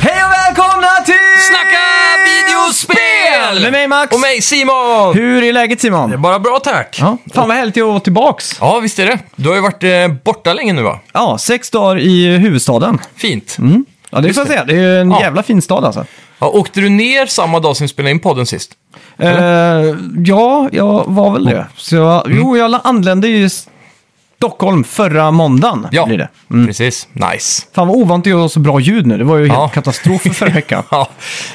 Hej och välkomna till Snacka videospel! Med mig Max! Och mig Simon! Hur är läget Simon? Bara bra tack! Ja, fan vad härligt att vara tillbaks. Ja, visst är det. Du har ju varit eh, borta länge nu va? Ja, sex dagar i huvudstaden. Fint. Mm. Ja, det får jag det. säga. Det är ju en Ja. jävla fin stad alltså. Ja, åkte du ner samma dag som vi spelade in podden sist? Eh, ja, jag var väl det. Så jag, Jo, jag la- anlände ju i Stockholm förra måndagen. Ja, Blir det. Mm. precis. Nice. Fan vad ovant det var så bra ljud nu. Det var ju helt Ja. katastrof för förra veckan. Ja,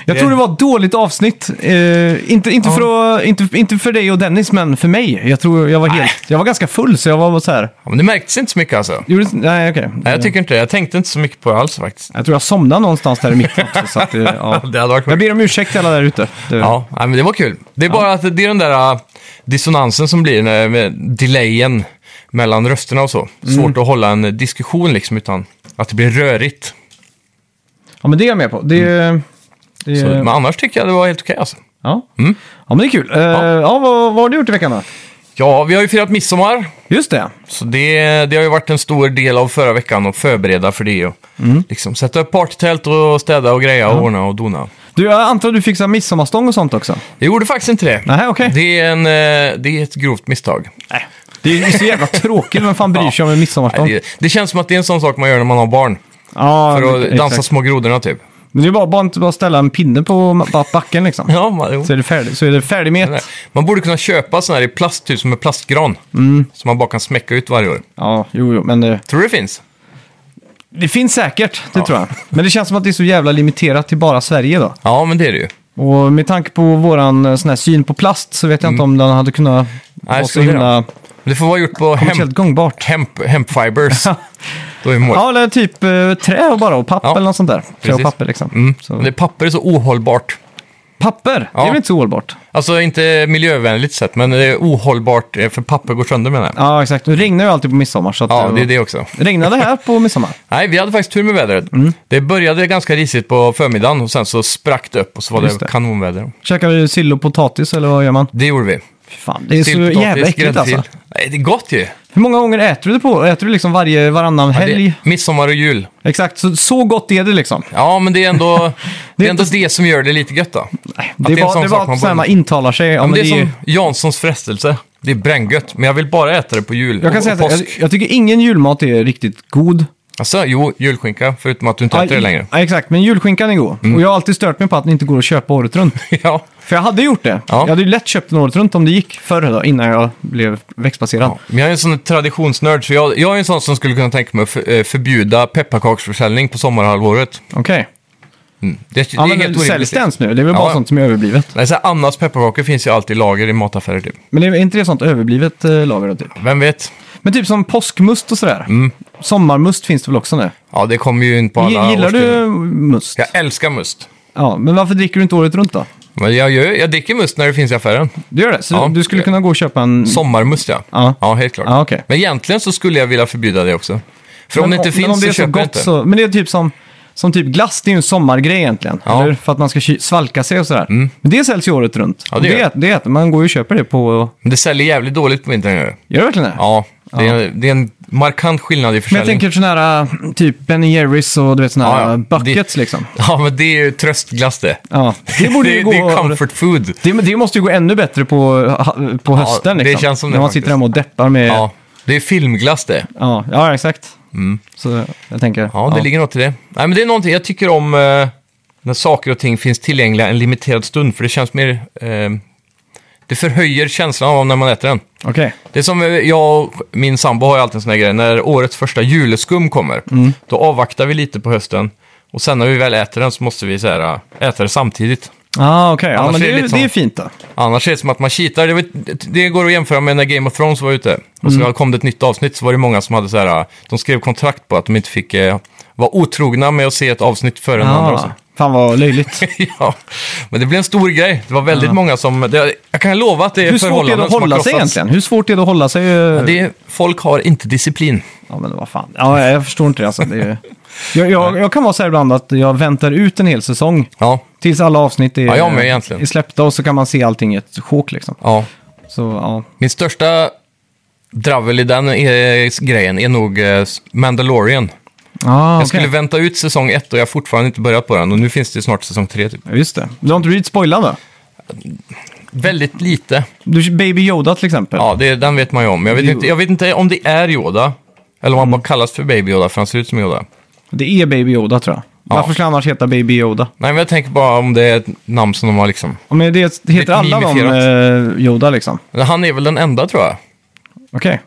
Jag tror det var ett dåligt avsnitt. Eh, inte, inte, för att, inte, inte för dig och Dennis, men för mig. Jag tror jag var helt... Jag var ganska full, så jag var så här... Ja, men det märktes inte så mycket alltså. Gjorde, nej, okej. Nej, jag tycker inte det. Jag tänkte inte så mycket på det alls faktiskt. Jag tror jag somnade någonstans där i mitten också. Så att, det- ja. Det hade varit Jag ber om ursäkt till alla där ute. Det- Ja, nej, men det var kul. Det är bara att det är den där äh, dissonansen som blir när, med delayen mellan rösterna och så. Mm. Svårt att hålla en diskussion liksom utan att det blir rörigt. ja, men det är jag med på. Det, är- det, Mm. Så, är- men annars tycker jag det var helt okej alltså. ja. ja, men det är kul. Eh, ja. vad, vad har du gjort i veckan då? Ja, vi har ju firat midsommar. Just det. Så det, det har ju varit en stor del av förra veckan att förbereda för det. Och Mm. liksom, sätta upp partytält och städa och greja och ordna och dona. Du, jag antar att du fixar midsommarstång och sånt också? Jag gjorde faktiskt inte det. Nej, okej. Det, är en, eh, det är ett grovt misstag. Nej. Det är ju så jävla tråkigt. Vem fan bryr sig om en midsommarstång? Nej, det, det känns som att det är en sån sak man gör när man har barn. Ja, För att exakt. dansa små grodorna typ. Men det är bara, bara, inte bara ställa en pinne på ma- ba- backen liksom. Ja, man, jo. Så är det, färdig, så är det färdig med Nej. ett. Man borde kunna köpa sån här i plast, typ som en plastgran. Mm. Som man bara kan smäcka ut varje år. Ja, jo, jo, men det, Tror du det finns? det finns säkert, det tror jag. Men det känns som att det är så jävla limiterat till bara Sverige då. Ja, men det är det ju. Och med tanke på våran eh, sån här syn på plast så vet jag inte om den hade kunnat vara så Mm. skulle himla Men det får vara gjort på kommersiellt hemp, gångbart. hemp, hempfibers. Då är vi mål. Ja, eller typ eh, trä och bara och papper Ja, eller något sånt där. Trä och precis. papper liksom. Mm. Så. Men det, papper är så ohållbart. Papper, det är Ja. väl inte så hållbart? Alltså inte miljövänligt sett, men det är ohållbart eh, för papper går sönder menar jag. Ja, exakt. Det regnar ju alltid på midsommar. Så att Ja, det är det också. Regnade här på midsommar? Nej, vi hade faktiskt tur med vädret. Mm. Det började ganska risigt på förmiddagen och sen så sprack det upp och så var Just det, det. kanonväder. Käkar du sill och potatis eller vad gör man? Det gjorde vi. Fy Fan, det är Sill, så potatis, jävla äckligt gräddfil. alltså. Nej, det är gott ju. Hur många gånger äter du det på? Äter du liksom varje, varannan helg? Det, midsommar och jul. Exakt, så, så gott är det liksom. Ja, men det är ändå det, är är ändå det som gör det lite gött då. Nej, Att det, det är är bara, en sån det är sak bara man att så här borde- man intalar sig. Ja, men det, det är är- som Janssons frestelse. Det är bränngött, men jag vill bara äta det på jul jag kan och säga påsk. att jag, jag tycker ingen julmat är riktigt god. Alltså, jo, julskinka, förutom att du inte äter det Mm. längre. Ja, exakt, men julskinkan är god. Och jag har alltid stört mig på att den inte går att köpa året runt. ja. För jag hade gjort det. Ja. Jag hade ju lätt köpt den året runt om det gick förr då, innan jag blev växtbaserad. Ja, Men jag är en sån traditionsnörd, så jag, jag är en sån som skulle kunna tänka mig att för, eh, förbjuda pepparkaksförsäljning på sommarhalvåret. Okej. Mm. Det, Ja, det är men helt det säljs orimligt. det ens nu? Det är väl bara Ja, ja. sånt som är överblivet. Nej, så här, Annas pepparkakor finns ju alltid i lager i mataffärer typ. Men det är inte det sånt överblivet eh, lager då, typ? Vem vet? Men typ som påskmust och sådär. Mm. Sommarmust finns det väl också nu? Ja, det kommer ju in på Gi- alla Gillar årstider. du must? Jag älskar must. Ja, men varför dricker du inte året runt då? Men jag, gör, jag dricker must när det finns i affären. Du gör det? Så Ja. du skulle kunna gå och köpa en... Sommarmust, ja. Ja. helt klart. Ja, okej. Men egentligen så skulle jag vilja förbjuda det också. För om det Men inte men finns det är så köper jag inte. så... Men det är typ som, som typ glass, det är ju en sommargrej egentligen. Ja. Mm. Eller? För att man ska ky- svalka sig och sådär. Men det säljs ju året runt. Ja, Och det det, gör det är att man går ju och köper det på... Men det säljer jävligt dåligt på vintern. gör det. Gör det verkligen det? Ja, det är, det är en markant skillnad i Men jag försäljning. tänker sådana här äh, typ Ben Jerrys och du vet sådana här Ja, ja. äh, buckets Det- liksom. Ja, men det är ju tröstglass det. Ja. Det borde ju det, gå... det är comfort food. det, men det måste ju gå ännu bättre på, äh, på hösten det liksom. känns som det När man faktiskt. sitter hemma och deppar med... Ja, det är filmglass det. Ja, ja exakt. Så jag tänker... Mm. Ja, det ligger något i det. Nej, men det är någonting jag tycker om eh, när saker och ting finns tillgängliga en limiterad stund, för det känns mer... Eh, det förhöjer känslan av när man äter den. Okej. Det är som eh, jag och min sambo har ju alltid en sån här grej, när årets första juleskum kommer, då avvaktar vi lite på hösten och sen när vi väl äter den så måste vi så här, äh, eh, äta det samtidigt. Ah, okej. Ja, Annars men är det det är, lite så. det är fint då. Annars är det som att man cheatar. Det, var, det går att jämföra med när Game of Thrones var ute. Och Mm. så kom det ett nytt avsnitt så var det många som hade så här, de skrev kontrakt på att de inte fick eh, vara otrogna med att se ett avsnitt före den andra. Och så. Ah, fan vad löjligt. ja, men det blev en stor grej. Det var väldigt många som... Det, jag kan lova att det är Ah. Hur svårt är det förhållanden att som har hålla sig krossats. egentligen? Hur svårt är det att hålla sig? eh, Det är, folk har inte disciplin. Ja, men vad fan. Ja, jag, jag förstår inte det alltså. Det är... jag, jag, jag kan vara så här ibland att jag väntar ut en hel säsong. Ja, Tills alla avsnitt är, Ja, jag med egentligen. är släppta och så kan man se allting i ett sjok liksom. ja. Så ja, Min största dravel i den eh, grejen är nog eh, Mandalorian. ah, Jag skulle vänta ut säsong ett och jag har fortfarande inte börjat på den. Och nu finns det snart säsong tre typ. Just det. Du har inte blivit spoilad då? Väldigt lite. Du, Baby Yoda till exempel. Ja, det, den vet man ju om. Jag vet, Jo. inte, jag vet inte om det är Yoda. Eller om han bara kallas för Baby Yoda för han ser ut som Yoda. Det är Baby Yoda tror jag. Varför skulle han annars heta Baby Yoda? Nej, men jag tänker bara om det är ett namn som de har liksom. Ja, Men det heter Lite alla de eh, Yoda liksom. Men Han är väl den enda tror jag. Okej.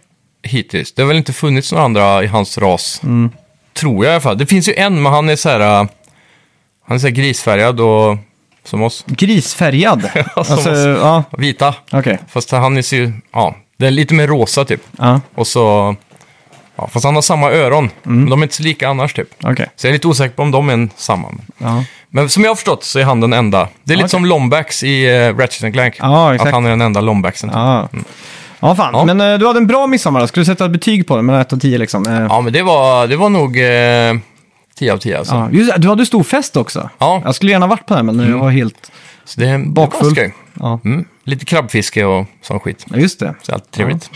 hittills. Det har väl inte funnits några andra i hans ras. Tror jag i alla fall. Det finns ju en, men han är så här... äh, Han är så här grisfärgad och... Som oss. Grisfärgad. som alltså, oss. ja. Vita. Okej. Fast han är ju... Ja, det är lite mer rosa typ. Ja, Och så... Ja, fast han har samma öron. Men de är inte så lika annars typ. okej. Så jag är lite osäker på om de är en samma. Ja. Men som jag har förstått så är han den enda. Det är lite Okej. som Lombax i eh, Ratchet and Clank. Ja, exakt. Att han är den enda Lombaxen. Ja. Ja. ja, fan. Mm. Ja. Men eh, du hade en bra midsommar. då. Skulle du sätta ett betyg på den mellan 1 och 10 liksom? Eh, men det var, det var nog... Eh, 10 av 10 alltså. ja. Just, det, du hade stor fest också. Ja. Mm. Jag skulle gärna varit på den, men jag var helt... Så det är Bakfull. bakfull. Ja, Mm. Lite krabbfiske och sån skit. Ja, just det. Så allt trevligt.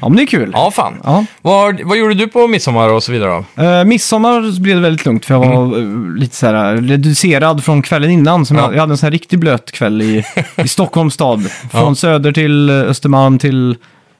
Ja, men det är kul. Ja, fan. Ja. Vad, vad gjorde du på midsommar och så vidare då? Eh, midsommar så blev det väldigt lugnt för jag var eh, lite så här reducerad från kvällen innan. Som Mm. Ja. jag, jag hade en sån här riktigt blöt kväll i, i Stockholms stad. Från Ja. söder till eh, Östermalm till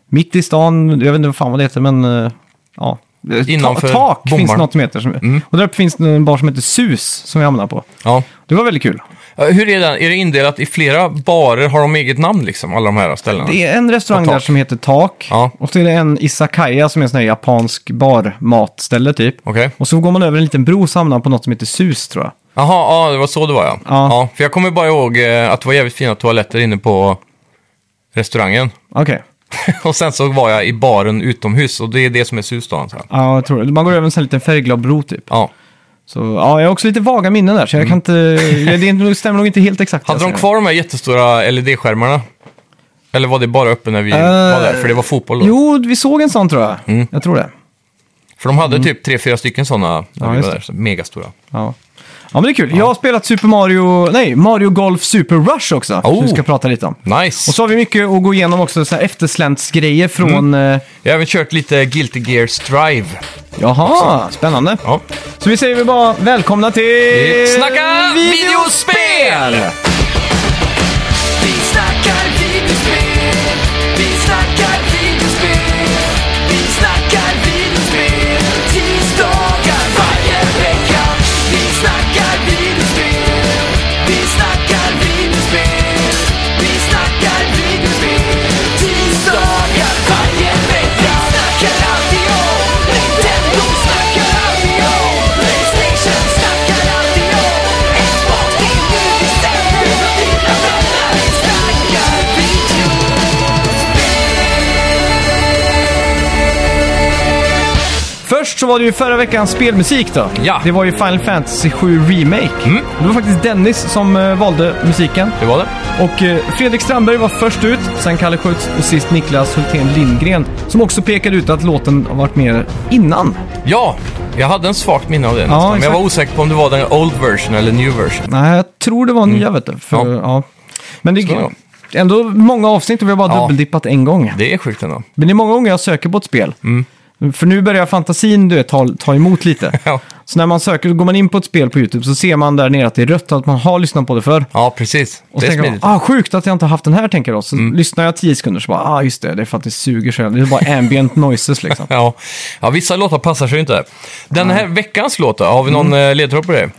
mitt i stan. Jag vet inte vad fan vad det heter men eh, ja. Eh, Innanför Mm. Ta, tak finns bommar. något som heter. Som, Och där uppe finns det en bar som heter Sus som jag hamnade på. Ja. Det var väldigt kul. Eh, Hur är den? Är det indelat i flera barer? Har de eget namn liksom, alla de här ställena? Det är en restaurang Och tak. där som heter Tak. Ja. Och så är det en Isakaya som är en sån här japansk barmatställe typ. Okej. Och så går man över en liten bro så hamnar man på något som heter Sus tror jag. Jaha, ja, det var så det var ja. Ja. För jag kommer bara ihåg eh, att det var jävligt fina toaletter inne på restaurangen. Okej. och sen så var jag i baren utomhus och det är det som är sus då, antar jag. Ja, jag tror det. Man går över en sån här liten färgglad bro typ. Ja. Så, ja, jag har också lite vaga minnen där, så jag kan inte... ja, Det är inte- det stämmer nog inte helt exakt. Mm. Alltså. Hade jag de ser. kvar de här jättestora LED-skärmarna? Eller var det bara öppen när vi var där? För det var fotboll då? Eh, Jo, vi såg en sån tror jag. Mm. Jag tror det. För de hade typ tre, fyra stycken sådana när Mm. Ja, vi just var det. där. Så megastora. Ja. ja, men det är kul. Jag har spelat Super Mario... Nej, Mario Golf Super Rush också. Oh. Som vi ska prata lite om. Nice! Och så har vi mycket att gå igenom också, så här eftersläntsgrejer från... eh, Jag har även kört lite Guilty Gear Strive. Jaha, spännande. Ja. Så vi säger väl bara välkomna till... Eh, Snacka videospel! Vi snackar videospel, vi snackar videospel, vi snackar videospel, tisdagar varje vecka. Vi snackar videospel, vi snackar videospel, vi snackar videospel, tisdagar varje vecka. Snackar alltid om Nintendo, snackar alltid om Playstation, snackar alltid om Xbox, det är nu vi sätter dina vänner. Vi snackar videospel. Först så var det ju förra veckans spelmusik då. Ja. Det var ju Final Fantasy 7 Remake. Mm. Det var faktiskt Dennis som eh, valde musiken. Det var det. Och eh, Fredrik Strandberg var först ut, sen Kalle Schütz och sist Niklas Hultén Lindgren. Som också pekade ut att låten har varit med innan. Ja, jag hade en svagt minne av det nästan. Men jag exakt. var osäker på om det var den old version eller new version. Nej, jag tror det var nya vet du. För, ja. Mm. Ja. Men det är Så var ändå många avsnitt och vi har bara Ja. dubbeldippat en gång. Det är sjukt ändå. Men det är många gånger jag söker på ett spel. Mm. För nu börjar fantasin du vet, ta, ta emot lite. Ja. Så när man söker, så går man in på ett spel på YouTube så ser man där nere att det är rött och att man har lyssnat på det förr. Ja, precis. Och så det är tänker man, smidigt. Mm. ah, sjukt att jag inte har haft den här tänker jag då. Så lyssnar jag tio sekunder så bara, ah just det, det är för att det suger så jävla- Det är bara ambient noises liksom. Ja. ja, vissa låtar passar sig inte. Den här veckans låt då, har vi någon mm. ledtråd på det?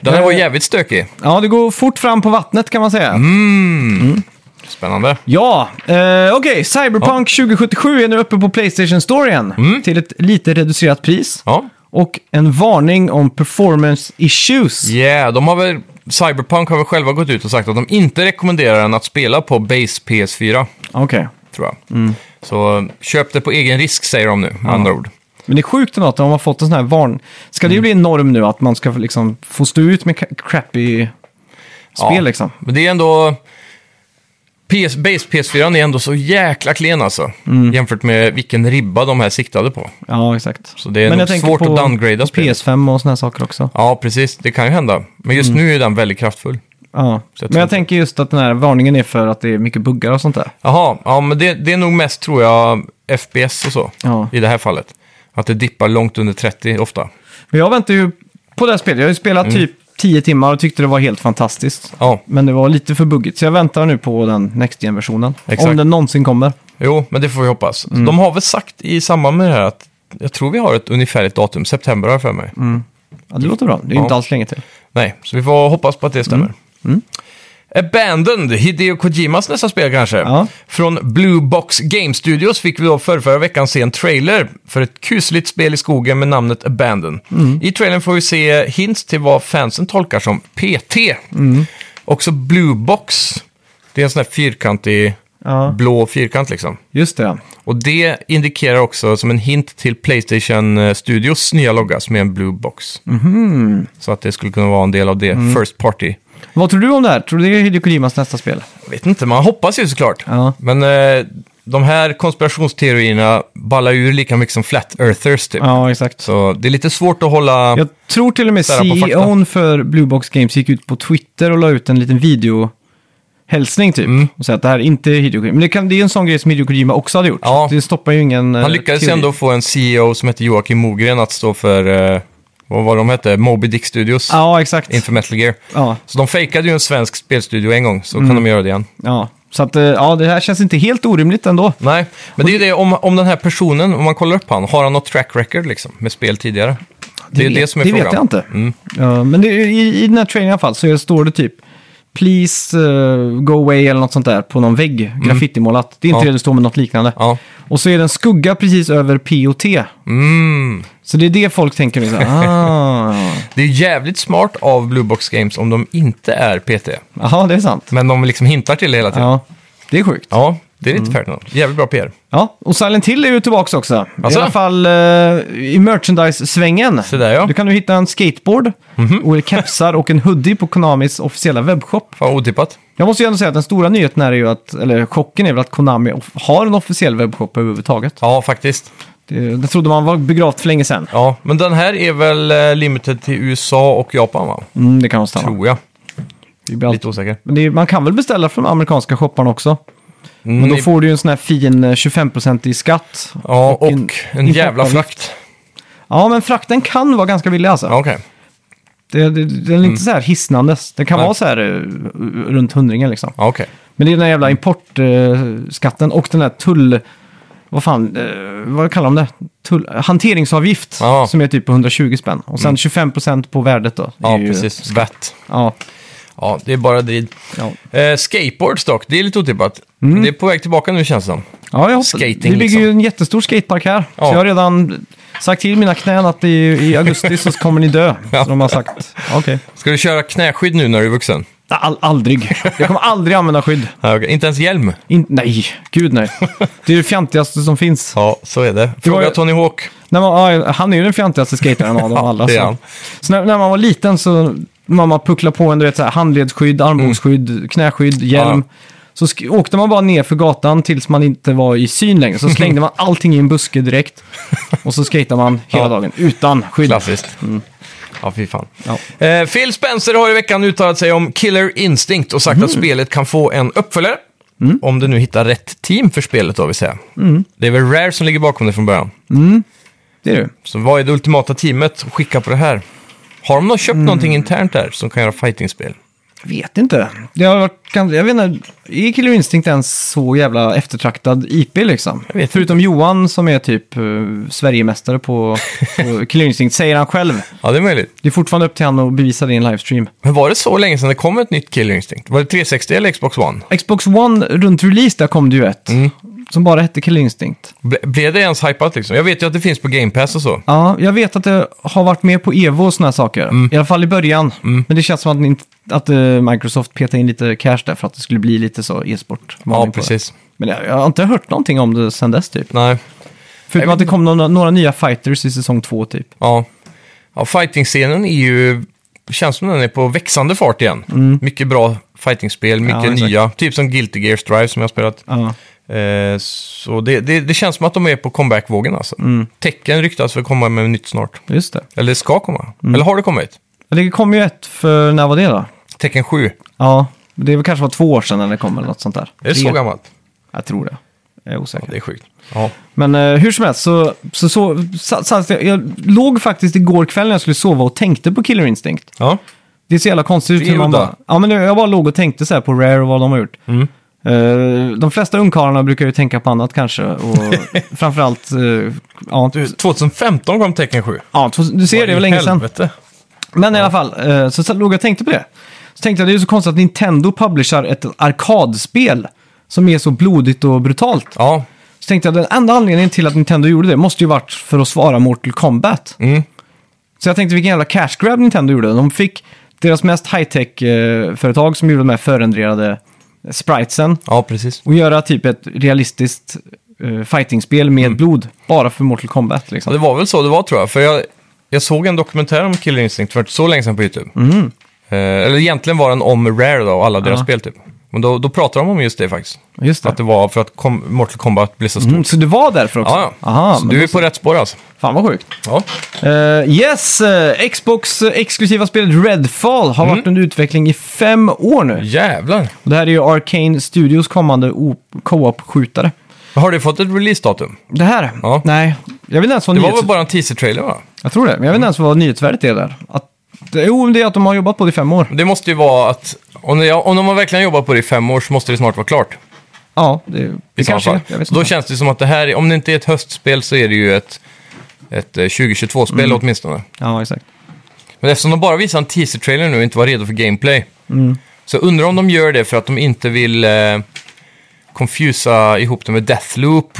Den här var Eh. jävligt stökig. Ja, det går fort fram på vattnet kan man säga. Mm. Spännande. Ja, eh, okej, Cyberpunk 2077 är nu uppe på Playstation Store igen. Till ett lite reducerat pris. Mm. Ja, Och en varning om performance issues. yeah, de har väl Cyberpunk har väl själva gått ut och sagt att de inte rekommenderar den att spela på base PS4, Okej. tror jag. Mm. Så eh, köp det på egen risk, säger de nu, med andra ord. Men det är sjukt ändå att de har fått en sån här varn. Ska Mm. det ju bli en norm nu att man ska liksom få stå ut med ka- crappy spel Ja. liksom? Men det är ändå... PS, base PS4 är ändå så jäkla klen alltså, Mm. jämfört med vilken ribba de här siktade på. Ja, exakt. Så det är nog tänker svårt på att downgrada på spelet. PS5 och såna här saker också. Ja, precis. Det kan ju hända. Men just Mm. nu är den väldigt kraftfull. Ja. Så jag Men jag tror- tänker just att den här varningen är för att det är mycket buggar och sånt där. Jaha, ja, men det, det är nog mest, tror jag, FPS och så Ja. i det här fallet. Att det dippar långt under 30 ofta. Men jag väntar ju på det här spelet. Jag har ju spelat Mm. typ 10 timmar och tyckte det var helt fantastiskt. Ja, Men det var lite för buggigt, så jag väntar nu på den Next Gen-versionen. Exakt. Om den någonsin kommer. jo, men det får vi hoppas. De har väl sagt i samband med det här att jag tror vi har ett ungefärligt datum, september har jag för mig. Ja, det låter bra. Det är ju Mm. Ja. inte alls länge till. Nej, så vi får hoppas på att det Mm. stämmer. Abandoned, Hideo Kojimas nästa spel kanske. Ja. Från Blue Box Game Studios fick vi då förra, förra veckan se en trailer för ett kusligt spel i skogen med namnet Abandon. Mm. I trailern får vi se hints till vad fansen tolkar som PT. Mm. Också Blue Box, det är en sån här fyrkantig, Ja. blå fyrkant liksom. Just det. Och det indikerar också som en hint till Playstation eh, Studios nya logga som är en blue box. Mhm. Så att det skulle kunna vara en del av det Mm. first party. Vad tror du om det här? Tror du det är Hideo Kojimas nästa spel? Jag vet inte, man hoppas ju såklart. Ja. Men eh, de här konspirationsteorierna ballar ur lika mycket som flat earthers typ. Ja, exakt. Så det är lite svårt att hålla... Jag tror till och med Ställa på fakta. CEOn för Blue Box Games gick ut på Twitter och la ut en liten videohälsning typ. Mm. Och sa att det här är inte Hideo Kojima. Men det, kan, det är en sån grej som Hideo Kojima också hade gjort. Ja. Det stoppar ju ingen eh, Han lyckades teori. ändå få en CEO som heter Joakim Mogren att stå för, eh, vad var de hette, Moby Dick Studios Ja, exakt. inför Metal Gear. Ja, Mm. Så de fejkade ju en svensk spelstudio en gång, så kan de göra det igen. ja. Så att, eh, ja, det här känns inte helt orimligt ändå. Nej, men det är ju det om, om den här personen, om man kollar upp han, har han något track record liksom med spel tidigare? Det, är vet- det som är det frågan. Mm. vet jag inte. Ja, men det, i, i den här trailern i alla fall så är- står det typ Please eh, go away eller något sånt där på någon vägg, graffitimålat. Det är inte Mm. Ja. det det står men något liknande. Ja. Och så är det en skugga precis över P och T. Mm. Så det är det folk tänker nu. så här, Ah, Det är jävligt smart av Blue Box Games om de inte är PT. Jaha, det är sant. Men de liksom hintar till det hela tiden. Ja, Ja, det är sjukt. det är lite Mm. Ferdinand. Jävligt bra PR. Ja, och Silent Hill är ju tillbaka också. Alltså? I alla fall eh, i merchandise-svängen. Så där, ja. Mhm. Du kan nu hitta en skateboard, och kepsar och en hoodie på Konamis officiella webbshop. Fan otippat. Jag måste ju ändå säga att den stora nyheten här är ju att, eller chocken är väl att Konami off- har en officiell webbshop överhuvudtaget. Ja, faktiskt. Det, det trodde man var begravt för länge sedan. Ja, men den här är väl eh, limited till USA och Japan va? Mm, det kan nog stämma. Tror jag. Det blir allt- Lite osäker. Men det, är- man kan väl beställa från amerikanska shopparna också? Mm, Men då i- får du ju en sån här fin eh, 25% i skatt. ja, och en, en- en jävla fraktavgift. frakt. Ja, men frakten kan vara ganska billig alltså. Ja, okej. Det, det, den är inte så här hisnandes. Den kan Nej. vara så här eh, runt hundringen liksom. Ja, okej. Men det är den här jävla importskatten och den här tull... Vad fan, eh, vad kallar de det? Tull, hanteringsavgift Ja. Mm. som är typ på 120 spänn. Och sen 25% på värdet då. Det är Ja, ju- precis. Vat. Ja, Ja, det är bara drid. ja. Eh, skateboards dock, det är lite otippat. Det är på väg tillbaka nu känns det som. ja jag hoppas. Skating, Vi bygger liksom. ju en jättestor skatepark här. Ja. Så jag har redan sagt till mina knän att i, i augusti så kommer ni dö. Ja. Så de har sagt, okej. Ska du köra knäskydd nu när du är vuxen? All, aldrig. Jag kommer aldrig använda skydd. Ja, okej. Inte ens hjälm? In, nej, gud nej. Det är det fjantigaste som finns. Ja, så är det. Det var Fråga ju- Tony Hawk. När man, ja, han är ju den fjantigaste skataren av dem Ja, alla. det är Så, han. så när, när man var liten så mamma pucklade på en du vet, så här, handledsskydd, armbågsskydd, Mm. knäskydd, hjälm. Så sk- åkte man bara ner för gatan tills man inte var i syn längre. Så slängde man allting i en buske direkt. Och så skatade man hela Ja. dagen utan skydd. Klassiskt. Mm. Ja, fy fan. Ja. Eh, Phil Spencer har i veckan uttalat sig om Killer Instinct och sagt att spelet kan få en uppföljare. Om det nu hittar rätt team för spelet då, vill säga. Det är väl Rare som ligger bakom det från början. Det är det. Så vad är det ultimata teamet att skicka på det här? Har de nog köpt någonting internt där som kan göra fightingspel? Jag vet inte. Det har varit, ganska- jag vet inte, är Killer Instinct ens så jävla eftertraktad IP liksom? vet inte. Förutom Johan som är typ eh, Sverigemästare på, på Killer Instinct, säger han själv. Ja, det är möjligt. Det är fortfarande upp till han att bevisa det i en livestream. Men var det så länge sedan det kom ett nytt Killer Instinct? Var det 360 eller Xbox One? Mm. Xbox One runt release, där kom det ju ett. som bara hette Killer Instinct. Ble- Blev det ens hypat liksom? Jag vet ju att det finns på Game Pass och så. Ja, jag vet att det har varit med på Evo och sådana här saker. Mm. I alla fall i början. Men det känns som att, ni inte- att eh, Microsoft petade in lite cash där för att det skulle bli lite så e-sport. Ja, precis. Men jag, jag har inte hört någonting om det sedan dess typ. Nej. Förutom att det kom några, några nya fighters i säsong två typ. Ja. ja fighting-scenen är ju... Känns som den är på växande fart igen. Mycket bra fighting-spel, mycket Mm. exakt. nya. Typ som Guilty Gear Strive som jag har spelat. Ja. Eh, så det, det, det känns som att de är på comeback-vågen alltså. Mm. Tecken ryktas väl komma med nytt snart. Just det. Eller ska komma. Mm. Eller har det kommit? Det kom ju ett för, när var det då? Tecken 7. Ja, det var kanske var två år sedan när det kom eller något sånt där. Är det så Tre. gammalt? Jag tror det. Jag är osäker. Ja, det är sjukt. Ja. Men eh, hur som helst så, så, så, så, så, jag, jag låg faktiskt igår kväll när jag skulle sova och tänkte på Killer Instinct. ja. Det är så jävla konstigt ut Det är hur man udda. bara... Ja, men jag bara låg och tänkte så här på Rare och vad de har gjort. Mm. Eh, de flesta ungkarlarna brukar ju tänka på annat kanske. Och framförallt... Uh, ja, Du, 2015 kom Tecken 7. ja, du ser, det var länge sedan. Helvete. Men i alla fall, eh, så satt- låg jag och tänkte på det. Så tänkte jag, det är ju så konstigt att Nintendo publicerar ett arkadspel som är så blodigt och brutalt. Ja, Så tänkte jag, den enda anledningen till att Nintendo gjorde det måste ju varit för att svara Mortal Kombat. Mm. Så jag tänkte vilken jävla cash grab Nintendo gjorde. De fick deras mest high-tech-företag som gjorde de här förändrade spritesen ja precis. och göra typ ett realistiskt eh, fightingspel med Mm. blod bara för Mortal Kombat. Ja, Liksom. det var väl så det var tror jag. För jag, jag såg en dokumentär om Killer Instinct för inte så länge sedan på YouTube. Eh, eller egentligen var den om Rare då, och alla Mm. deras Ja. spel typ. Men då, då pratade de om just det faktiskt. Just Att det var för att kom, Mortal Kombat blev så stort. Mm, så det var därför också? Ja, ja. Aha, så men du är på rätt spår alltså. Fan vad sjukt. Ja. Eh, yes, eh, Xbox eh, exklusiva spelet Redfall har Mm. varit under utveckling i fem år nu. Jävlar. Och det här är ju Arcane Studios kommande o- co-op-skjutare. Har du fått ett releasedatum? Det här? Ja. Nej, jag vet inte ens vad Det var nyhets- väl bara en teaser-trailer va? Jag tror det, men jag vet inte ens vad nyhetsvärdet är där. Att, jo, det är att de har jobbat på det i fem år. Det måste ju vara att om, det, om de har verkligen jobbat på det i fem år så måste det snart vara klart. Ja, det, I det kanske så är. fall. Jag vet Då inte. känns det som att det här, är- om det inte är ett höstspel så är det ju ett, ett eh, 2022-spel Mm. åtminstone. Ja, exakt. Men eftersom de bara visar en teaser-trailer nu och inte var redo för gameplay. Mm. Så jag undrar om de gör det för att de inte vill eh, confusa ihop det med Deathloop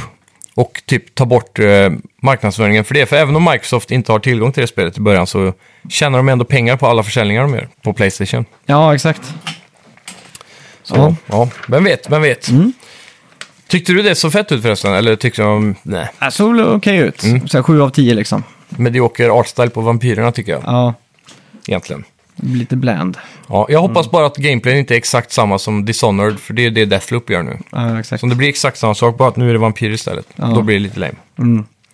och typ ta bort eh, marknadsföringen för det. För även om Microsoft inte har tillgång till det spelet i början så tjänar de ändå pengar på alla försäljningar de gör på Playstation. Ja, exakt. Så, Ja. Mm. ja. vem vet, vem vet. Tyckte du det så fett ut förresten? Eller tyckte de, nej, Äh, Det såg väl okej ut. Mm. Så här, sju av tio liksom. medioker artstyle på vampyrerna tycker jag, Ja, egentligen. lite bland. Ja, jag hoppas bara att gameplayen inte är exakt samma som Dishonored, för det är det Deathloop gör nu. Ja, exakt. Så om det blir exakt samma sak, bara att nu är det vampyrer istället. Då blir det lite lame.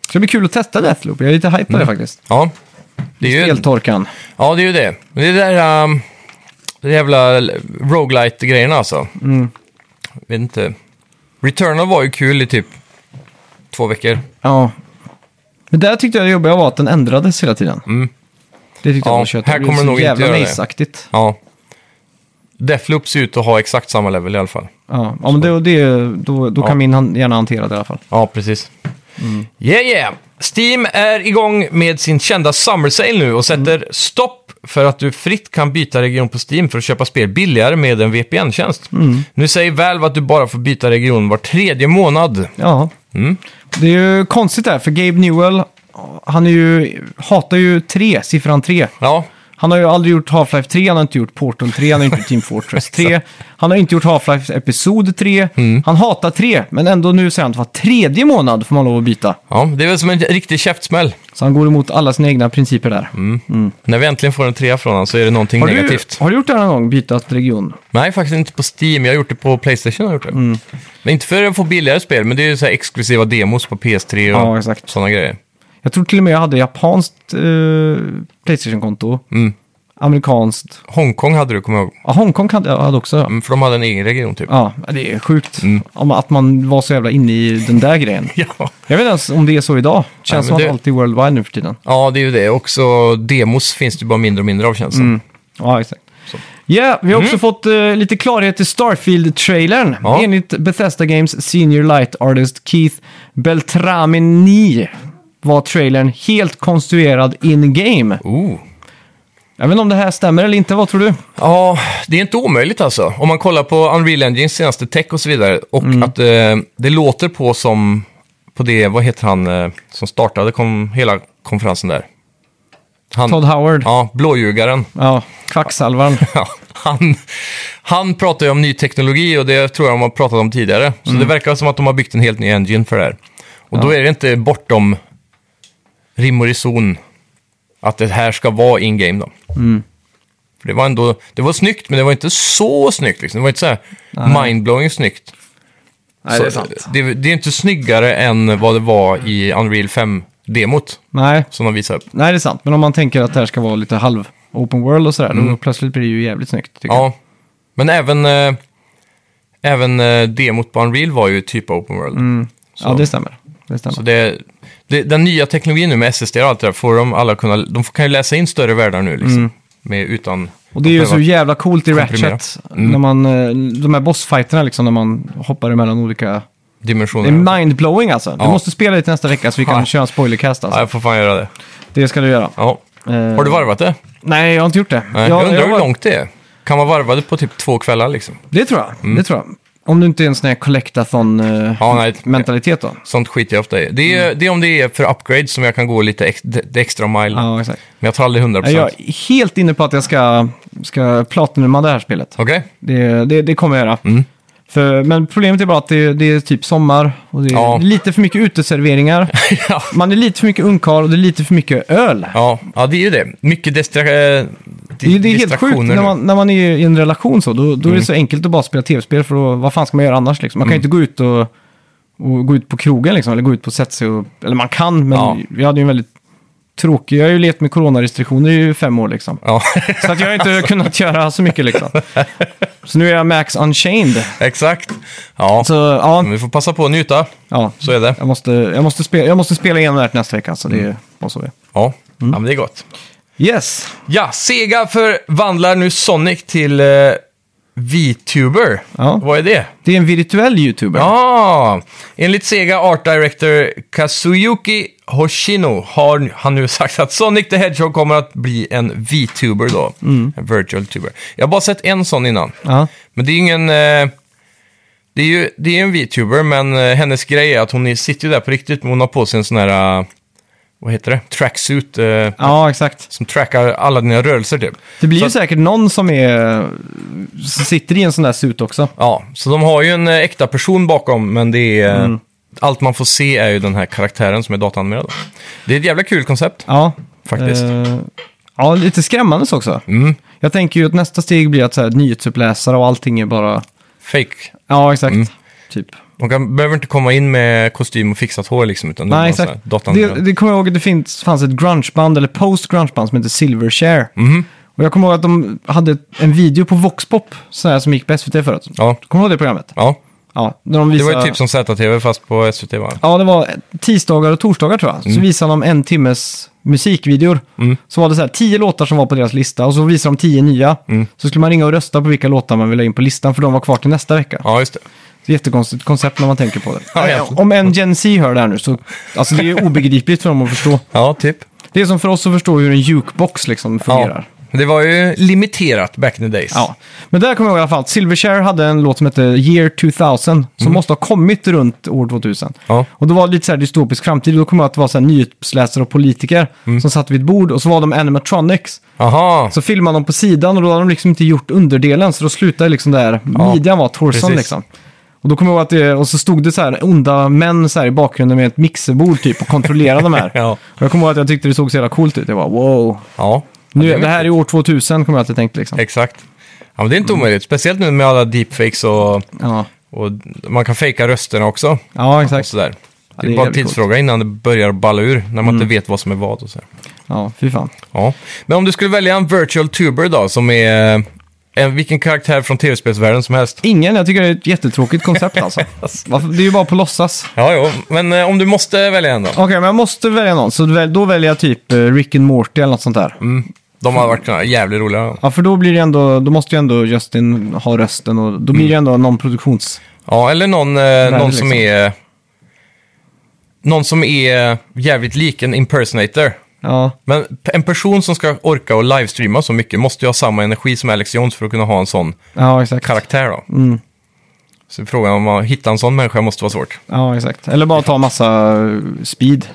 Så det blir kul att testa Deathloop. Jag är lite hype Mm. på det faktiskt. Ja, det är ju, Speltorkan. ja, det, är ju det. Men det där um, det jävla roguelite grejerna alltså. Jag vet inte. Returnal var ju kul i typ två veckor. Ja. Men där tyckte jag det jobbiga var att den ändrades hela tiden. Det tyckte Mm. Ja, jag var kött. här blev kommer så det nog inte jävla göra det. niceaktigt. Ja. Deathloop ser ut att ha exakt samma level i alla fall. Ja, ja men det, det, då, då Ja. kan min han, gärna hantera det i alla fall. Ja, precis. Yeah, yeah! Steam är igång med sin kända Summer Sale nu och sätter stopp för att du fritt kan byta region på Steam för att köpa spel billigare med en VPN-tjänst. Nu säger Valve att du bara får byta region var tredje månad. Ja. Mm. Det är ju konstigt där, för Gabe Newell, han är ju, hatar ju tre, siffran tre. Ja, Han har ju aldrig gjort Half-Life 3, han har inte gjort Portal 3, han har inte gjort Team Fortress 3. Han har inte gjort Half-Life Episod 3. Mm. Han hatar 3, men ändå nu säger han att var tredje månad får man lov att byta. ja, det är väl som en riktig käftsmäll. Så han går emot alla sina egna principer där. När vi äntligen får en trea från honom så är det någonting Har, du, negativt. har du gjort det här någon gång, bytat region? Nej, faktiskt inte på Steam. Jag har gjort det på Playstation. Har jag gjort det. Men inte för att få billigare spel, men det är ju så här exklusiva demos på PS3 och Ja, exakt. sådana grejer. Jag tror till och med jag hade japanskt eh, Playstation-konto. Mm. Amerikanskt. Hongkong hade du, kommer jag ihåg. Ja, Hongkong hade jag hade också. ja. Mm, För de hade en egen region typ. Ja, det är sjukt. Om att man var så jävla inne i den där grejen. Ja. Jag vet inte ens om det är så idag. Känns men som att det- allt är worldwide nu för tiden. ja, det är ju det. Också demos finns det ju bara mindre och mindre av känns det Mm. som. Ja, exakt. Ja, vi har också fått eh, lite klarhet i Starfield-trailern. Mm. Ja. Enligt Bethesda Games senior light artist Keith Beltramini var trailern helt konstruerad in-game. Oh. Jag vet inte om det här stämmer eller inte, vad tror du? Ja, det är inte omöjligt alltså. Om man kollar på Unreal Engines senaste tech och så vidare. Och Mm. att eh, det låter på som, på det, vad heter han eh, som startade kom, hela konferensen där? Han, Todd Howard? Ja. Ja, blåljugaren. kvacksalvaren. Ja, han, han pratar ju om ny teknologi och det tror jag de har pratat om tidigare. Så det verkar som att de har byggt en helt ny engine för det här. Och då är det inte bortom rim och reson att det här ska vara in-game då. För det var ändå, det var snyggt men det var inte så snyggt liksom. Det var inte så här mindblowing snyggt. Nej, så, Det, det är inte snyggare än vad det var i Unreal 5-demot Nej. som de visade upp. Nej, det är sant. Men om man tänker att det här ska vara lite halv open world och sådär, då plötsligt blir det ju jävligt snyggt. Tycker Mm. Ja, men även, eh, även eh, demot på Unreal var ju typ open world. jag. ja det stämmer. Det stämmer. Så det, det, den nya teknologin nu med SSD och allt det där får de alla kunna, de kan ju läsa in större världar nu liksom. Med, utan, Mm. Och det är ju så utan- jävla coolt i komprimera. Ratchet. Mm. När man, eh, de här bossfighterna liksom, när man hoppar emellan olika... Det dimensioner. är mindblowing alltså. Du Ja. måste spela det till nästa vecka så vi Ja. kan köra en spoilercast ja, alltså. jag får fan göra det. Det ska du göra. Ja. Eh, Har du varvat det? Nej, jag har inte gjort det. Nej. jag undrar hur var- långt det är. Kan man varva det på typ två kvällar liksom? Det tror jag. Det tror jag. Om du inte är en sån här Ja, nej. collectathon-mentalitet då. Sånt skiter jag ofta i. Det är, Mm. det är om det är för upgrade som jag kan gå lite ex, det, det extra mile. Ja, exakt. Men jag tar aldrig 100%. Nej, Jag Okej? är helt inne på att jag ska, ska platinuma det här spelet. Det, det, det kommer jag göra. Mm. För, men problemet är bara att det, det är typ sommar och det är Ja. lite för mycket uteserveringar. ja. Man är lite för mycket ungkarl och det är lite för mycket öl. Ja, ja, det är ju det. Mycket distra eh, Det, är- det är helt distraktioner sjukt när nu. Mm. man, när man är i en relation så. Då, då är det så enkelt att bara spela tv-spel för då, vad fan ska man göra annars liksom? Man kan ju inte gå ut och, och gå ut på krogen liksom, eller gå ut på sätt sig och, Eller man kan, men Ja. vi hade ju en väldigt tråkig... Jag har ju levt med coronarestriktioner i fem år liksom. Ja, Så att jag har inte kunnat göra så mycket liksom. Så nu är jag Max Unchained. exakt. Ja, Så ja, men vi får passa på att njuta. ja. Mm. Så är det. Jag, måste, jag, måste spela, jag måste spela igenom det här till nästa vecka. Så det är bara så det är. Ja, Mm. ja men det är gott. Yes, Ja, Sega förvandlar nu Sonic till eh, VTuber. Ja. Vad är det? det är en virtuell YouTuber. Ja, enligt Sega Art Director Kazuyuki Hoshino har han nu sagt att Sonic the Hedgehog kommer att bli en VTuber då. En virtual tuber. Jag har bara sett en sån innan. Mm. Ja. Men det är ju ingen... eh, Det är ju det är ju en VTuber, men eh, hennes grej är att hon är- sitter ju där på riktigt, men hon har på sig en sån här... eh, Vad heter det? Tracksuit. eh, ja, exakt. Som trackar alla dina rörelser typ. Det blir Så ju att- säkert någon som, är, som sitter i en sån där sut också. Ja, så de har ju en eh, äkta person bakom, men det är... eh, Mm. Allt man får se är ju den här karaktären som är dataanimerad. då. Det är ett jävla kul koncept. Ja, Faktiskt. Eh, ja, lite skrämmande så också. Mm. Jag tänker ju att nästa steg blir att så här, nyhetsuppläsare och allting är bara... Fake. Ja, exakt. Typ. De kan, behöver inte komma in med kostym och fixat hår liksom, utan Nej, exakt. dataanimerad. Det, det kommer jag ihåg att det finns, fanns ett grungeband, eller post-grungeband, som hette Silverchair. Mhm. Och jag kommer ihåg att de hade en video på Voxpop, så här som gick på SVT förut. Ja, Kommer du ihåg det programmet? ja. Ja, när de Det var visade... ju typ som ZTV fast på SVT va? Ja, det var tisdagar och torsdagar tror jag. Så Mm. visade de en timmes musikvideor. Så var det så här tio låtar som var på deras lista och så visade de tio nya. Mm. Så skulle man ringa och rösta på vilka låtar man ville ha in på listan för de var kvar till nästa vecka. Ja, just det. Det är jättekonstigt koncept när man tänker på det. Ja, Nej, egentligen. Om en Gen Z hör det här nu så, alltså det är ju obegripligt för dem att förstå. Ja, typ. Det är som för oss att förstå hur en jukebox liksom fungerar. Ja. Det var ju limiterat back in the days. Men där kommer jag ihåg i alla fall att Silverchair hade en låt som hette Year 2000 som måste ha kommit runt år 2000. Mm. Ja. Och då var det lite så här dystopisk framtid. Då kommer jag att det var så här nyhetsläsare och politiker Mm. som satt vid ett bord och så var de animatronics. Aha. Så filmade de på sidan och då hade de liksom inte gjort underdelen så då slutade liksom där midjan var, torson precis. liksom. Och då kommer jag ihåg att det, och så stod det så här onda män så här i bakgrunden med ett mixerbord typ och kontrollerade de här. Ja. Och jag kommer ihåg att jag tyckte det såg så jävla coolt ut. Jag bara wow. Ja. Nu, Ja, det, här är år 2000 kommer jag att jag tänkte liksom. Exakt. Ja, men det är Mm. inte omöjligt. Speciellt nu med alla deepfakes och, Ja, och man kan fejka rösterna också. ja Och exakt. sådär. Ja, det det, är är bara en jävligt Mm. tidsfråga innan det börjar balla ur, när man inte vet vad som är vad och sådär. Ja, fy fan. Ja. Men om du skulle välja en virtual tuber då, som är en, vilken karaktär från tv-spelsvärlden som helst. Ingen, jag tycker det är ett jättetråkigt koncept alltså. Varför- Det är ju bara på låtsas. Ja, jo. Men eh, om du måste välja en då? Okej, men jag måste välja någon. Så väl- då väljer jag typ eh, Rick and Morty eller något sånt där. De har varit eh, jävligt roliga. Ja, för då blir det ändå, då måste ju ändå Justin ha rösten och då blir det ändå någon produktions... Ja, eller någon, eh, någon som liksom. är... Någon som är jävligt lik en impersonator. Ja, Men en person som ska orka och livestreama så mycket måste ju ha samma energi som Alex Jones för att kunna ha en sån ja exakt. karaktär då. Mm. Så frågan om att hitta en sån människa måste vara svårt. Ja, exakt. Eller bara ta massa eh, speed.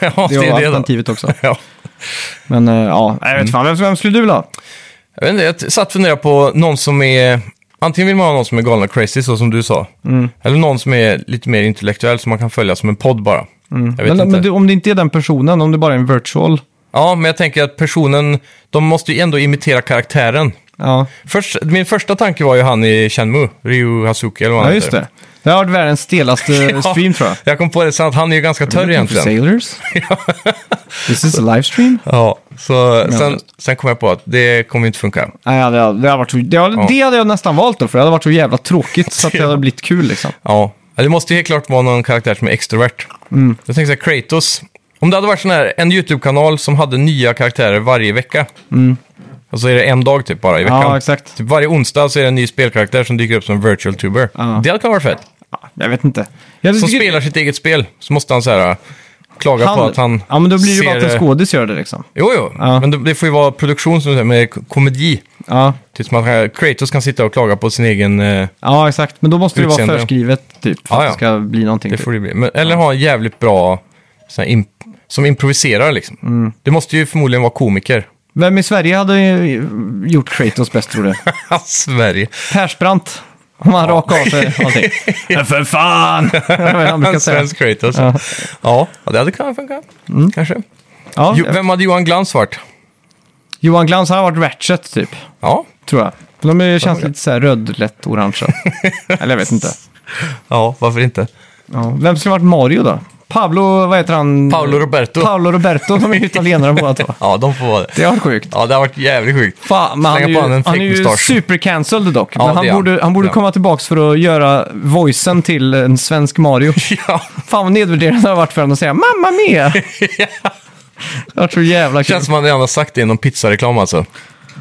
ja, Det är alternativet också. Ja. Men eh, ja, jag vet fan, vem, vem skulle du vilja ha? Jag vet inte, jag satt och funderade på någon som är... Antingen vill man ha någon som är galen och crazy, så som du sa. Mm. Eller någon som är lite mer intellektuell, som man kan följa som en podd bara. Jag vet Mm. Men, inte. men du, om det inte är den personen, om det bara är en virtual. Ja, men jag tänker att personen... De måste ju ändå imitera karaktären. Ja, Först, min första tanke var ju han i Shenmue, Ryu Hazuki eller vad han ja just heter. det. Det har varit världens stelaste stream tror jag. Jag kom på det sen att han är ju ganska törr Looking for egentligen. Sailors? This is a live stream? Ja, så sen, just. sen kom jag på att det kommer ju inte funka. Nej, det, hade- det, hade varit så, det, hade, Ja. det hade jag nästan valt då, för det hade varit så jävla tråkigt så att det hade blivit kul liksom. Ja, Ja, det måste ju helt klart vara någon karaktär som är extrovert. Mm. Jag tänker så här, Kratos. Om det hade varit sån här, en YouTube-kanal som hade nya karaktärer varje vecka. Och så är det en dag typ bara i veckan. Mm. Ja, exakt. Typ varje onsdag så är det en ny spelkaraktär som dyker upp som virtual tuber. Det hade kunnat vara fett. Ja, Jag vet inte. Jag Som tycker- spelar sitt eget spel. Så måste han så här äh, klaga på att han Ja, men då blir det ju bara att ser- äh, en skådis gör det liksom. Jo, jo. Ja. Men det, det får ju vara produktion som du säger, med k- komedi. Ja, Typ som att äh, Kratos kan sitta och klaga på sin egen... eh, ja exakt. Men då måste det vara Utseende. förskrivet typ, för Ja, att ja. det ska bli någonting. Det typ. får det bli. Men, eller ha en jävligt bra, sån här imp som improviserar liksom. Mm. Det måste ju förmodligen vara komiker. Vem i Sverige hade eh, gjort Kratos bäst tror du? Sverige. Persbrandt. Om han rakade av sig någonting. Men för fan! Vad är det han brukar En säga. svensk Kratos. Ja. Ja. Mm. ja, det hade kunnat funka. Kanske. Ja, Jo, vem hade Johan Glans varit? Johan Glans har varit Ratchet typ, Ja. tror jag. De är, känns lite så här röd, lätt orange. Eller jag vet inte. ja, varför inte? Ja. Vem skulle ha varit Mario då? Pablo, vad heter han? Paolo Roberto. Paolo Roberto, de är ju italienare båda två. ja, de får vara det. Det har varit sjukt. Ja, det har varit jävligt sjukt. Fan, men han Slänga är på ju, honom en han är ju fake-mustasch. supercancelled dock. Ja, men det är han han. borde, han borde Ja. komma tillbaka för att göra voicen till en svensk Mario. ja, Fan vad nedvärderande det har varit för honom att säga “Mamma Mia!” Jag tror jävla kul. känns som att han redan har sagt det i någon pizzareklam alltså.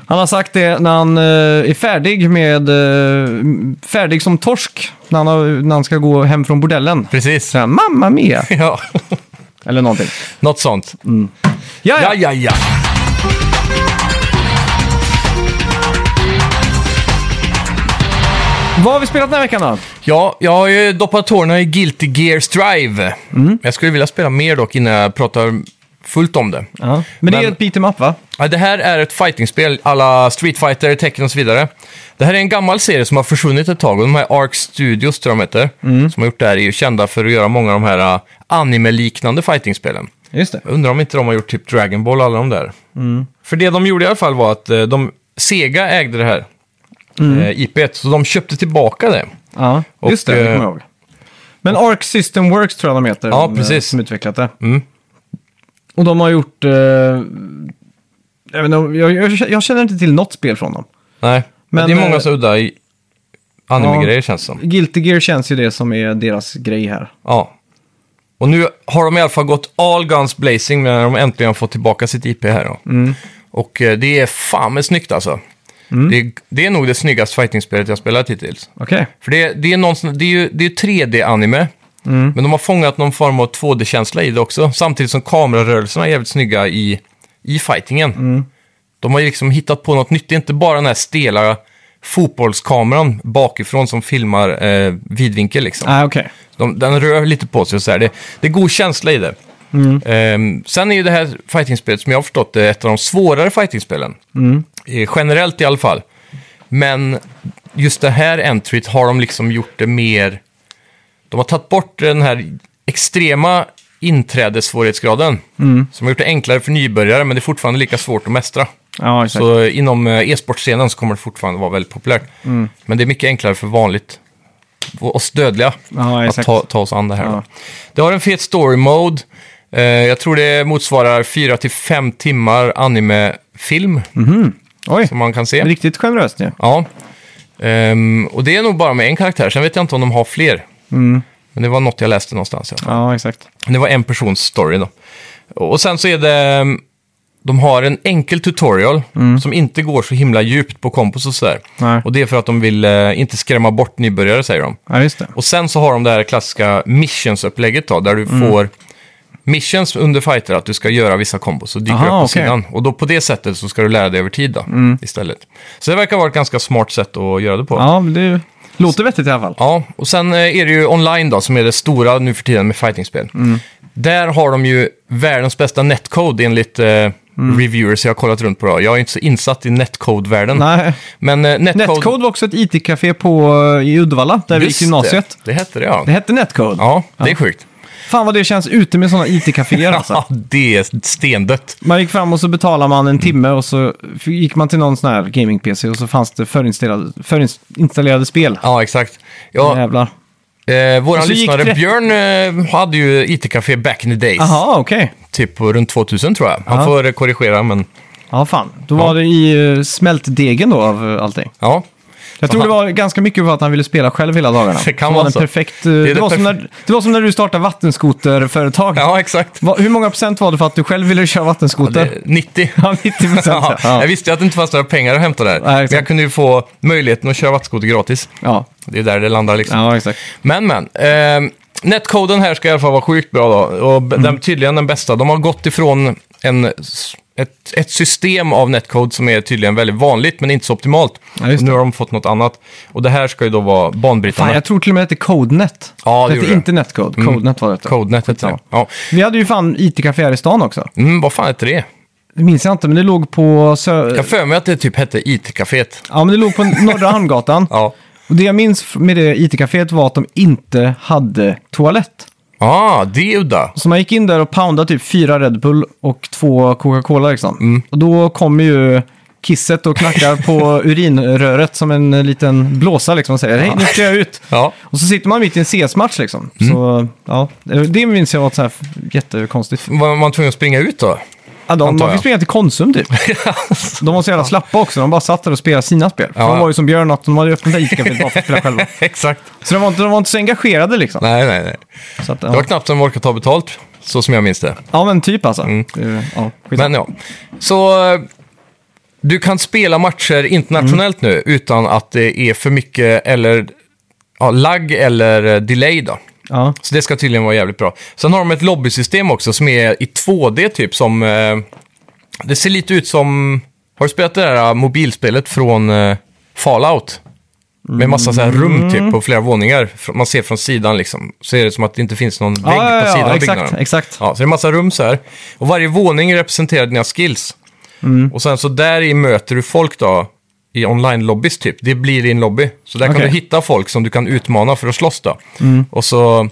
Han har sagt det när han eh, är färdig med... eh, färdig som torsk. När han, har, när han ska gå hem från bordellen. Precis. Så här, “Mamma Mia!” Ja, Eller någonting. något sånt. Ja, Ja, ja. ja, ja. Vad har vi spelat den här veckan då? Ja, jag har ju doppat tårna i Guilty Gear Strive. Jag skulle vilja spela mer dock innan jag pratar fullt om det. Men, det är Men- ett beat em up va? Ja, det här är ett fightingspel alla Street Fighter, Tekken och så vidare. Det här är en gammal serie som har försvunnit ett tag och de här Arc Studios tror jag de heter, som har gjort det här, är ju kända för att göra många av de här äh, anime-liknande fightingspelen. Just det. Jag undrar om inte de har gjort typ Dragon Ball, alla de där. Mm. För det de gjorde i alla fall var att eh, de, Sega ägde det här, Mm. eh, IP, så de köpte tillbaka det. Ja, Och, just det. Det eh, kommer jag ihåg. Men Arc System Works tror jag de heter. Ja, de, eh, precis. Som utvecklat det. Mm. Och de har gjort... Eh, jag, vet inte, om- jag, jag, jag känner inte till något spel från dem. Nej, men Men, det är många eh, så udda i anime-grejer känns det som. Guilty Gear känns ju det som är deras grej här. Ja. Och nu har de i alla fall gått all guns blazing när de äntligen har fått tillbaka sitt IP här då. Mm. Och eh, det är fan med snyggt alltså. Det, är, det är nog det snyggaste fightingspelet jag spelat hittills. Okej. För det, det är någon, sån- det är ju det är 3D-anime. Men de har fångat någon form av 2D-känsla i det också. Samtidigt som kamerarörelserna är jävligt snygga i, i fightingen. De har ju liksom hittat på något nytt. Det är inte bara den här stela fotbollskameran bakifrån som filmar eh, vidvinkel liksom. Nej, Ah, okej. De, den rör lite på sig och så här. Det, det är god känsla i det. Ehm, sen är ju det här fightingspelet, som jag har förstått det, ett av de svårare fightingspelen. Eh, generellt i alla fall. Men just det här entryt har de liksom gjort det mer... De har tagit bort den här extrema inträdessvårighetsgraden. Som har gjort det enklare för nybörjare, men det är fortfarande lika svårt att mästra. Ja, exakt. Så eh, inom eh, e-sportscenen så kommer det fortfarande vara väldigt populärt. Mm. Men det är mycket enklare för vanligt och oss dödliga Ja, att exakt. ta, ta oss an det här. Ja. då. Det har en fet story mode. Eh, jag tror det motsvarar 4-5 timmar anime-film Mm. Oj, som man kan se. riktigt generöst ju. Ja. Ehm, och det är nog bara med en karaktär, sen vet jag inte om de har fler. Mm. Men det var något jag läste någonstans. Ja. Ja, exakt. Det var en persons story då. Och sen så är det... mm, De har en enkel tutorial som inte går så himla djupt på kompos och sådär. Mm. Nej. Och det är för att de vill eh, inte skrämma bort nybörjare, säger de. Ja, just det. Mm. Och sen så har de det här klassiska missions-upplägget då, där du får missions under fighter, att du ska göra vissa kombos. Så dyker Aha, det upp på okej. Mm. sidan. Och då på det sättet så ska du lära dig över tid då, istället. Så det verkar vara ett ganska smart sätt att göra det på. Ja, men det låter vettigt i alla fall. Ja, och sen eh, är det ju online då, som är det stora nu för tiden med fightingspel. Mm. Där har de ju världens bästa netcode enligt eh, Mm. reviewers jag har kollat runt på. Då. Jag är inte så insatt i netcode-världen. Nej. Men eh, netcode... Netcode var också ett IT-café på, eh, i Uddevalla, där vi gick Just gymnasiet. Det, det hette det ja. Det hette Netcode. Ja, det är sjukt. Fan vad det känns ute med sådana IT-caféer alltså. Ja, det är stendött. Man gick fram och så betalade man Mm. en timme och så f- gick man till någon sån här gaming-PC och så fanns det förinstallerade, förinstallerade spel. Ja, exakt. Ja, Jävlar. eh, våran Och så gick lyssnare det- Björn eh, hade ju IT-café back in the days. Jaha, okej. Typ på runt 2000 tror jag. Han Ja. får eh, korrigera, men Ja, fan. Då var det i eh, smältdegen då av eh, allting. ja. Jag tror han- det var ganska mycket för att han ville spela själv hela dagarna. Det kan Så vara var så. den perfekt, eh, är det, det var som perf- när, det var som när du startade vattenskoterföretag. Ja, exakt. Eh, Va, hur många procent var det för att du själv ville köra vattenskoter? Det, 90. Ja, 90 procent. Ja, ja. Jag visste ju att det inte fanns några pengar att hämta där. men exakt. jag kunde ju få möjligheten att köra vattenskoter gratis. Ja. Det är där det landar liksom. ja, exakt. Men, men. Eh, netcoden här ska i alla fall vara sjukt bra då. Och b- Mm. den, tydligen den bästa. De har gått ifrån en, s- ett, ett system av netcode som är tydligen väldigt vanligt men inte så optimalt. Ja, just Och nu har de fått något annat. Och det här ska ju då vara banbrytande. Fan, jag tror till och med att det hette CodeNet. Ja, det det gjorde hette det. Mm. inte Netcode. CodeNet var det. hette. Codenet heter det. Skitsamma. Ja. Vi hade ju fan IT-café här i stan också. Mm, vad fan heter det? Det minns jag inte, men det låg på, sö- Jag har för mig att det typ hette IT-caféet. ja, men det låg på Norra Hamngatan. Ja. Och det jag minns med det IT-caféet var att de inte hade toalett. Ah, det är udda. Så man gick in där och poundade typ fyra Red Bull och två Coca-Cola liksom. Mm. Och då kommer ju kisset och knackar på urinröret som en eh, liten blåsa liksom och säger hej nu ska jag ut. Ja. Mm. Och så sitter man mitt i en CS-match liksom. Så ja, det minns jag var så här jättekonstigt. Var man tvungen att springa ut då? Ja, de, Antar man fick jag. springa till Konsum typ. De var så jävla slappa också, de bara satt där och spelade sina spel. För Ja. De var ju som Björn, att de hade öppnat IT-caféet bara för att spela själva. Exakt. Så de var inte, de var inte så engagerade liksom. Nej, nej, nej. Så att, Det var ja. knappt som de orkade ta betalt, så som jag minns det. ja men typ alltså. Det- Ja, skit. Mm. Men ja. Så eh, du kan spela matcher internationellt nu utan att det är för mycket eller ja, lagg eller eh, delay då. ja. Så det ska tydligen vara jävligt bra. Sen har de ett lobbysystem också som är i 2D typ som... Eh, det ser lite ut som... Har du spelat det där eh, mobilspelet från eh, Fallout? Med massa så här Mm. rum typ på flera våningar. Fr- Man ser från sidan liksom. Så är det som att det inte finns någon vägg ja, ja, på ja, sidan av exakt, byggnaden. exakt. Ja, så det är en massa rum så här. Och varje våning representerar dina skills. Mm. Och sen så där i möter du folk då i online-lobbys typ. Det blir din lobby. Så där kan Okej. Mm. du hitta folk som du kan utmana för att slåss då. Och så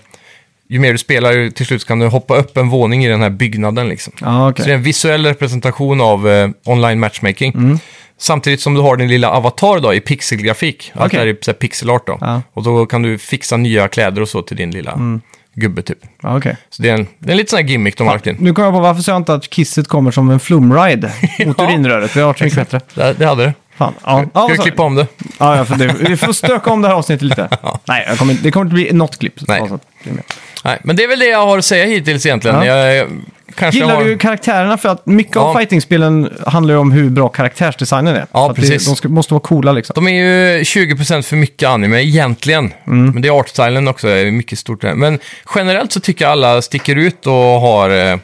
ju mer du spelar ju till slut så kan du hoppa upp en våning i den här byggnaden liksom. Ja, Ah, okej. Så det är en visuell representation av eh, online matchmaking. Mm. Samtidigt som du har din lilla avatar då i pixelgrafik. Allt Okej. Ah. det här är så här pixelart då. Ja. Och då kan du fixa nya kläder och så till din lilla Mm. gubbe typ. Ja, okej. Så det är en, det är en liten sån här gimmick Ah. de har lagt in. Nu kommer jag på varför sa jag inte att kisset kommer som en flumride mot Ja. urinröret. Det har varit så mycket bättre. Det, det hade det. Fan. Ja, Ska vi så- klippa om det? Ja, ja, för det, vi får stöka om det här avsnittet lite. Nej, jag kommer, inte- det kommer inte bli något klipp. Nej. Alltså, det är med. Nej, men det är väl det jag har att säga hittills egentligen. Ja. Jag, jag, kanske Gillar har... du karaktärerna? För att mycket av Ja. fightingspelen handlar ju om hur bra karaktärsdesignen är. För att precis. Det, de ska, måste vara coola liksom. De är ju 20% för mycket anime egentligen. Mm. Men det är artstylen också, är mycket stort där. Men generellt så tycker jag alla sticker ut och har eh,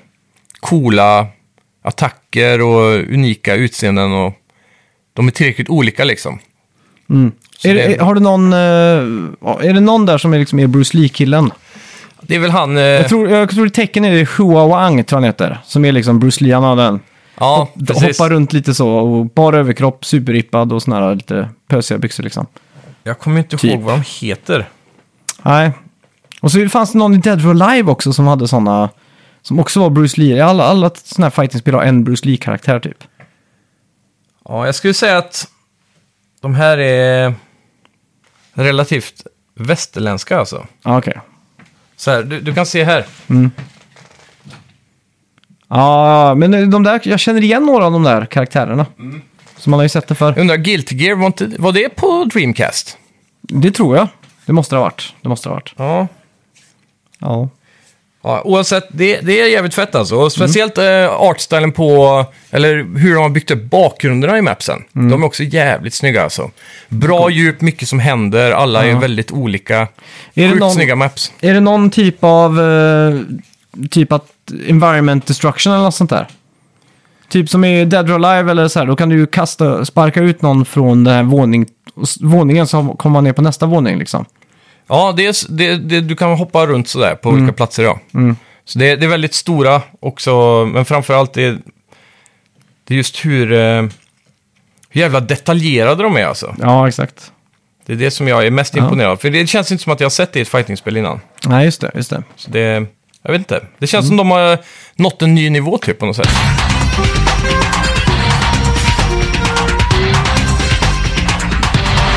coola attacker och unika utseenden. Och de är tillräckligt olika liksom. Så Är, det, det- har du någon, eh, ja, är det någon där som är, liksom, är Bruce Lee-killen? Eh. det är väl han... Eh, Jag tror, jag tror i tecken är det Hua Wang, tror jag han heter. Som är liksom Bruce Lee, han har den. ja, precis. Hoppar runt lite så och bara överkropp, superrippad och såna här lite pösiga byxor liksom. Jag kommer inte Typ. ihåg vad de heter. Nej. Och så fanns det någon i Dead or Alive också som hade såna, som också var Bruce Lee. Alla, alla såna här fightingspel har en Bruce Lee-karaktär typ. Ja, jag skulle säga att de här är relativt västerländska alltså. Ja, Ah, okej. Så här, du, du kan se här. Ja, men eh, de där, jag känner igen några av de där karaktärerna. Så man har ju sett det Jag för. undrar, Guilty Gear, var, inte, var det på Dreamcast? Det tror jag. Det måste det ha varit. Det måste det ha varit. Ja. Ja. ja oavsett, det, det är jävligt fett alltså. Och speciellt Mm. eh, artstylen på, eller hur de har byggt upp bakgrunderna i mapsen. Mm. De är också jävligt snygga alltså. Bra djup, mycket som händer, alla är väldigt olika. det Sjukt någon- snygga maps. Är det någon typ av eh, typ att environment destruction eller något sånt där. Typ som i Dead or Alive eller så här, då kan du ju kasta, sparka ut någon från den här våning, våningen så kommer man ner på nästa våning liksom. Ja, det är, s- det, det, du kan hoppa runt sådär på Mm. olika platser. Ja. Så det, det är väldigt stora också, men framförallt det, det är just hur, eh, hur jävla detaljerade de är alltså. Ja, exakt. Det är det som jag är mest imponerad av. För det känns inte som att jag har sett det i ett fightingspel innan. Nej, just det, just det. Så det, jag vet inte. Det känns Mm. som de har nått en ny nivå typ på något sätt.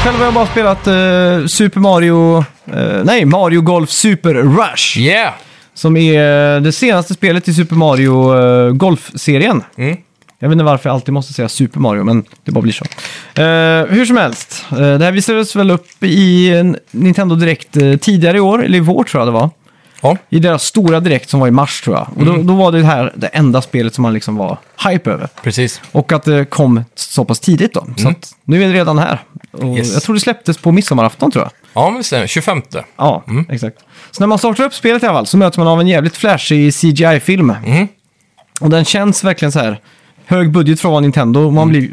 Själv har jag bara spelat eh, Super Mario, eh, nej, Mario Golf Super Rush. Yeah! Som är eh, det senaste spelet i Super Mario eh, Golf-serien. Mm. Jag vet inte varför jag alltid måste säga Super Mario, men det bara blir så. Eh, hur som helst, eh, det här visades väl upp i en Nintendo Direkt eh, tidigare i år, eller i vår tror jag det var. Ja. I deras stora Direkt som var i mars tror jag. Och då, då var det här det enda spelet som man liksom var hype över. Precis. Och att det kom så pass tidigt då. Så att nu är det redan här. Och Yes. Jag tror det släpptes på midsommarafton tror jag. Ja, men det stämmer. 25. Ja, Mm. exakt. Så när man startar upp spelet i alla fall så möts man av en jävligt flashig CGI-film. Mm. Och den känns verkligen så här hög budget från Nintendo. Och Mm. man blir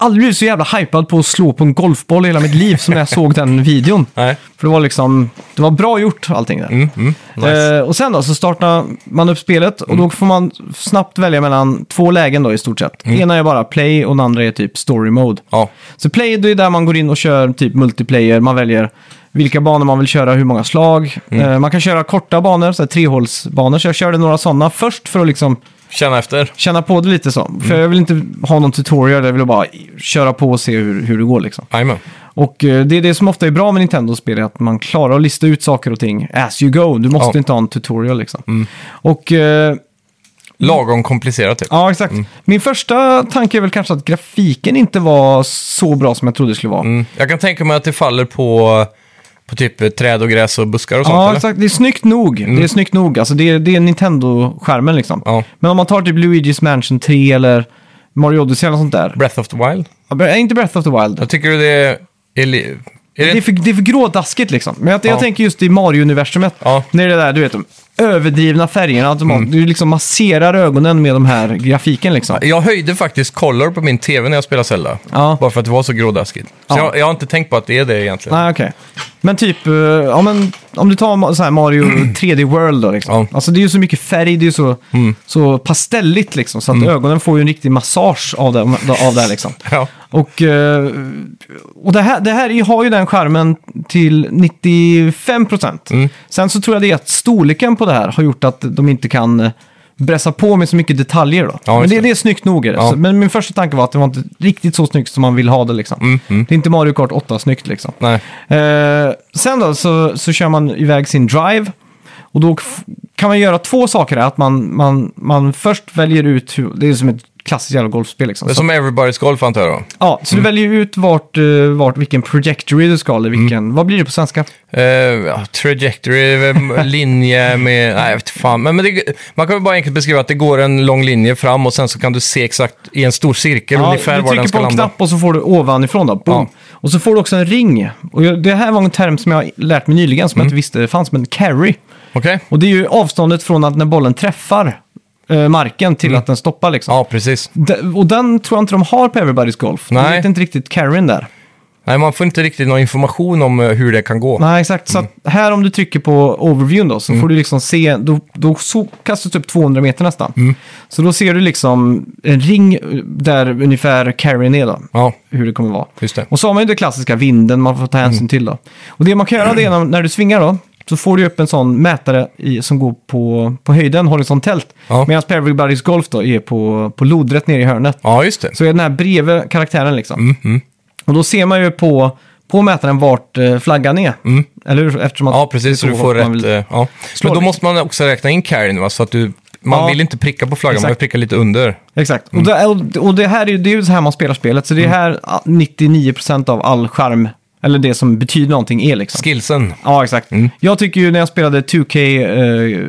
aldrig blivit så jävla hypad på att slå på en golfboll i hela mitt liv som när jag såg den videon. Nej. För det var liksom, det var bra gjort allting där. Mm, mm. Nice. Mm. Eh, och sen då så startar man upp spelet och då får man snabbt välja mellan två lägen då i stort sett. Mm. Ena är bara play och den andra är typ story mode. Ja. Så play, det är där man går in och kör typ multiplayer. Man väljer vilka banor man vill köra, hur många slag. Eh, man kan köra korta banor, så här trehålsbanor. Så jag körde några sådana först för att liksom Känna efter. känna på det lite så. För jag vill inte ha någon tutorial, jag vill bara köra på och se hur, hur det går liksom. Jajamän. Och eh, det är det som ofta är bra med Nintendo-spel, är att man klarar att lista ut saker och ting as you go. Du måste Ja. inte ha en tutorial liksom. Och eh, Lagom komplicerat typ. Ja, exakt. Min första tanke är väl kanske att grafiken inte var så bra som jag trodde det skulle vara. Mm. Jag kan tänka mig att det faller på, på typ eh, träd och gräs och buskar och sånt. Ja, eller? Mm. exakt. Det är snyggt nog. Det är snyggt nog. Alltså, det är, det är Nintendo-skärmen liksom. Ja. Men om man tar typ Luigi's Mansion 3 eller Mario Odyssey eller sånt där. Breath of the Wild. Ja, men inte Breath of the Wild. Jag tycker det är... li- är Det är det... för, det är för grådaskigt liksom. Men jag, jag Ja. tänker just i Mario-universumet. Ja. Mm. När det är där, du vet, de överdrivna färgerna. Att man, Du liksom masserar ögonen med de här grafiken liksom. Jag höjde faktiskt color på min tv när jag spelade Zelda. Ja. Bara för att det var så grådaskigt. Så Ja. jag, jag har inte tänkt på att det är det egentligen. Nej, okej. Men typ, eh, ja, men, om du tar ma- så här Mario 3D World då, liksom. Ja. Mm. Alltså det är ju så mycket färg, det är ju så, så pastelligt liksom. Så att ögonen får ju en riktig massage av det, av det här liksom. Ja. Och, eh, och det här, det här är- har ju den skärmen till 95%. Mm. Sen så tror jag det är att storleken på det här har gjort att de inte kan eh, bressa på med så mycket detaljer då. Ja, Men just det, det. det är snyggt nog. Är det. Ja. Så, men min första tanke var att det var inte riktigt så snyggt som man vill ha det liksom. Mm, Det är inte Mario Kart 8 snyggt liksom. Nej. Eh, sen då så, så kör man iväg sin drive. Och då f- kan man göra två saker. Här, att man, man, man först väljer ut hur, det är som ett klassiskt jävla golfspel liksom. Det är Så- som Everybody's Golf antar jag då. Ja, så Mm. du väljer ju ut vart, eh, vart, vilken trajectory du ska, eller vilken, vad blir det på svenska? Eh, ja, trajectory, eh, linje med... Nej, jag vet fan. Men, men det, man kan väl bara enkelt beskriva att det går en lång linje fram och sen så kan du se exakt i en stor cirkel Ja, ungefär du var den trycker på ska en landa. knapp och så får du ovanifrån då, boom. Ja. Och så får du också en ring. Och jag- det här var en term som jag lärt mig nyligen, Mm. som jag inte visste fanns, men carry. Okej? Och det är ju avståndet från att när bollen träffar eh, marken till Mm. att den stoppar liksom. Ja, precis. De- och den tror jag inte de har på Everybody's Golf. De Nej. vet inte riktigt carryn där. Nej, man får inte riktigt någon information om eh, hur det kan gå. Nej, exakt. Så Mm. att här om du trycker på overview då, så får du liksom se, då, då så kastas du upp 200 meter nästan. Mm. Så då ser du liksom en ring eh, där ungefär carryn är då, Ja, hur det kommer vara. just det. Mm. Och så har man ju det klassiska vinden man får ta hänsyn till då. Och det man kan göra det är när, när du svingar då, så får du upp en sån mätare i, som går på, på höjden, horisontellt. Ja. Medan Everybody's Golf då är på, på lodrätt nere i hörnet. Ja, just det. Så är den här bredvid karaktären liksom. Mm, Och då ser man ju på, på mätaren vart eh, flaggan är. Eller hur? Eftersom att Mm. Ja, precis. Så det är du så får man rätt... vill- eh, Ja. Men då lite. måste man också räkna in carryn, va? Så att du... Man Ja. vill inte pricka på flaggan, man Exakt. vill pricka lite under. Exakt. mm. Och, det, och- och det här är ju det är ju så här man spelar spelet. Så det är här ah, 99% av all skärm, eller det som betyder någonting, är liksom. Skillsen. Ja, exakt. Mm. Jag tycker ju när jag spelade 2K eh,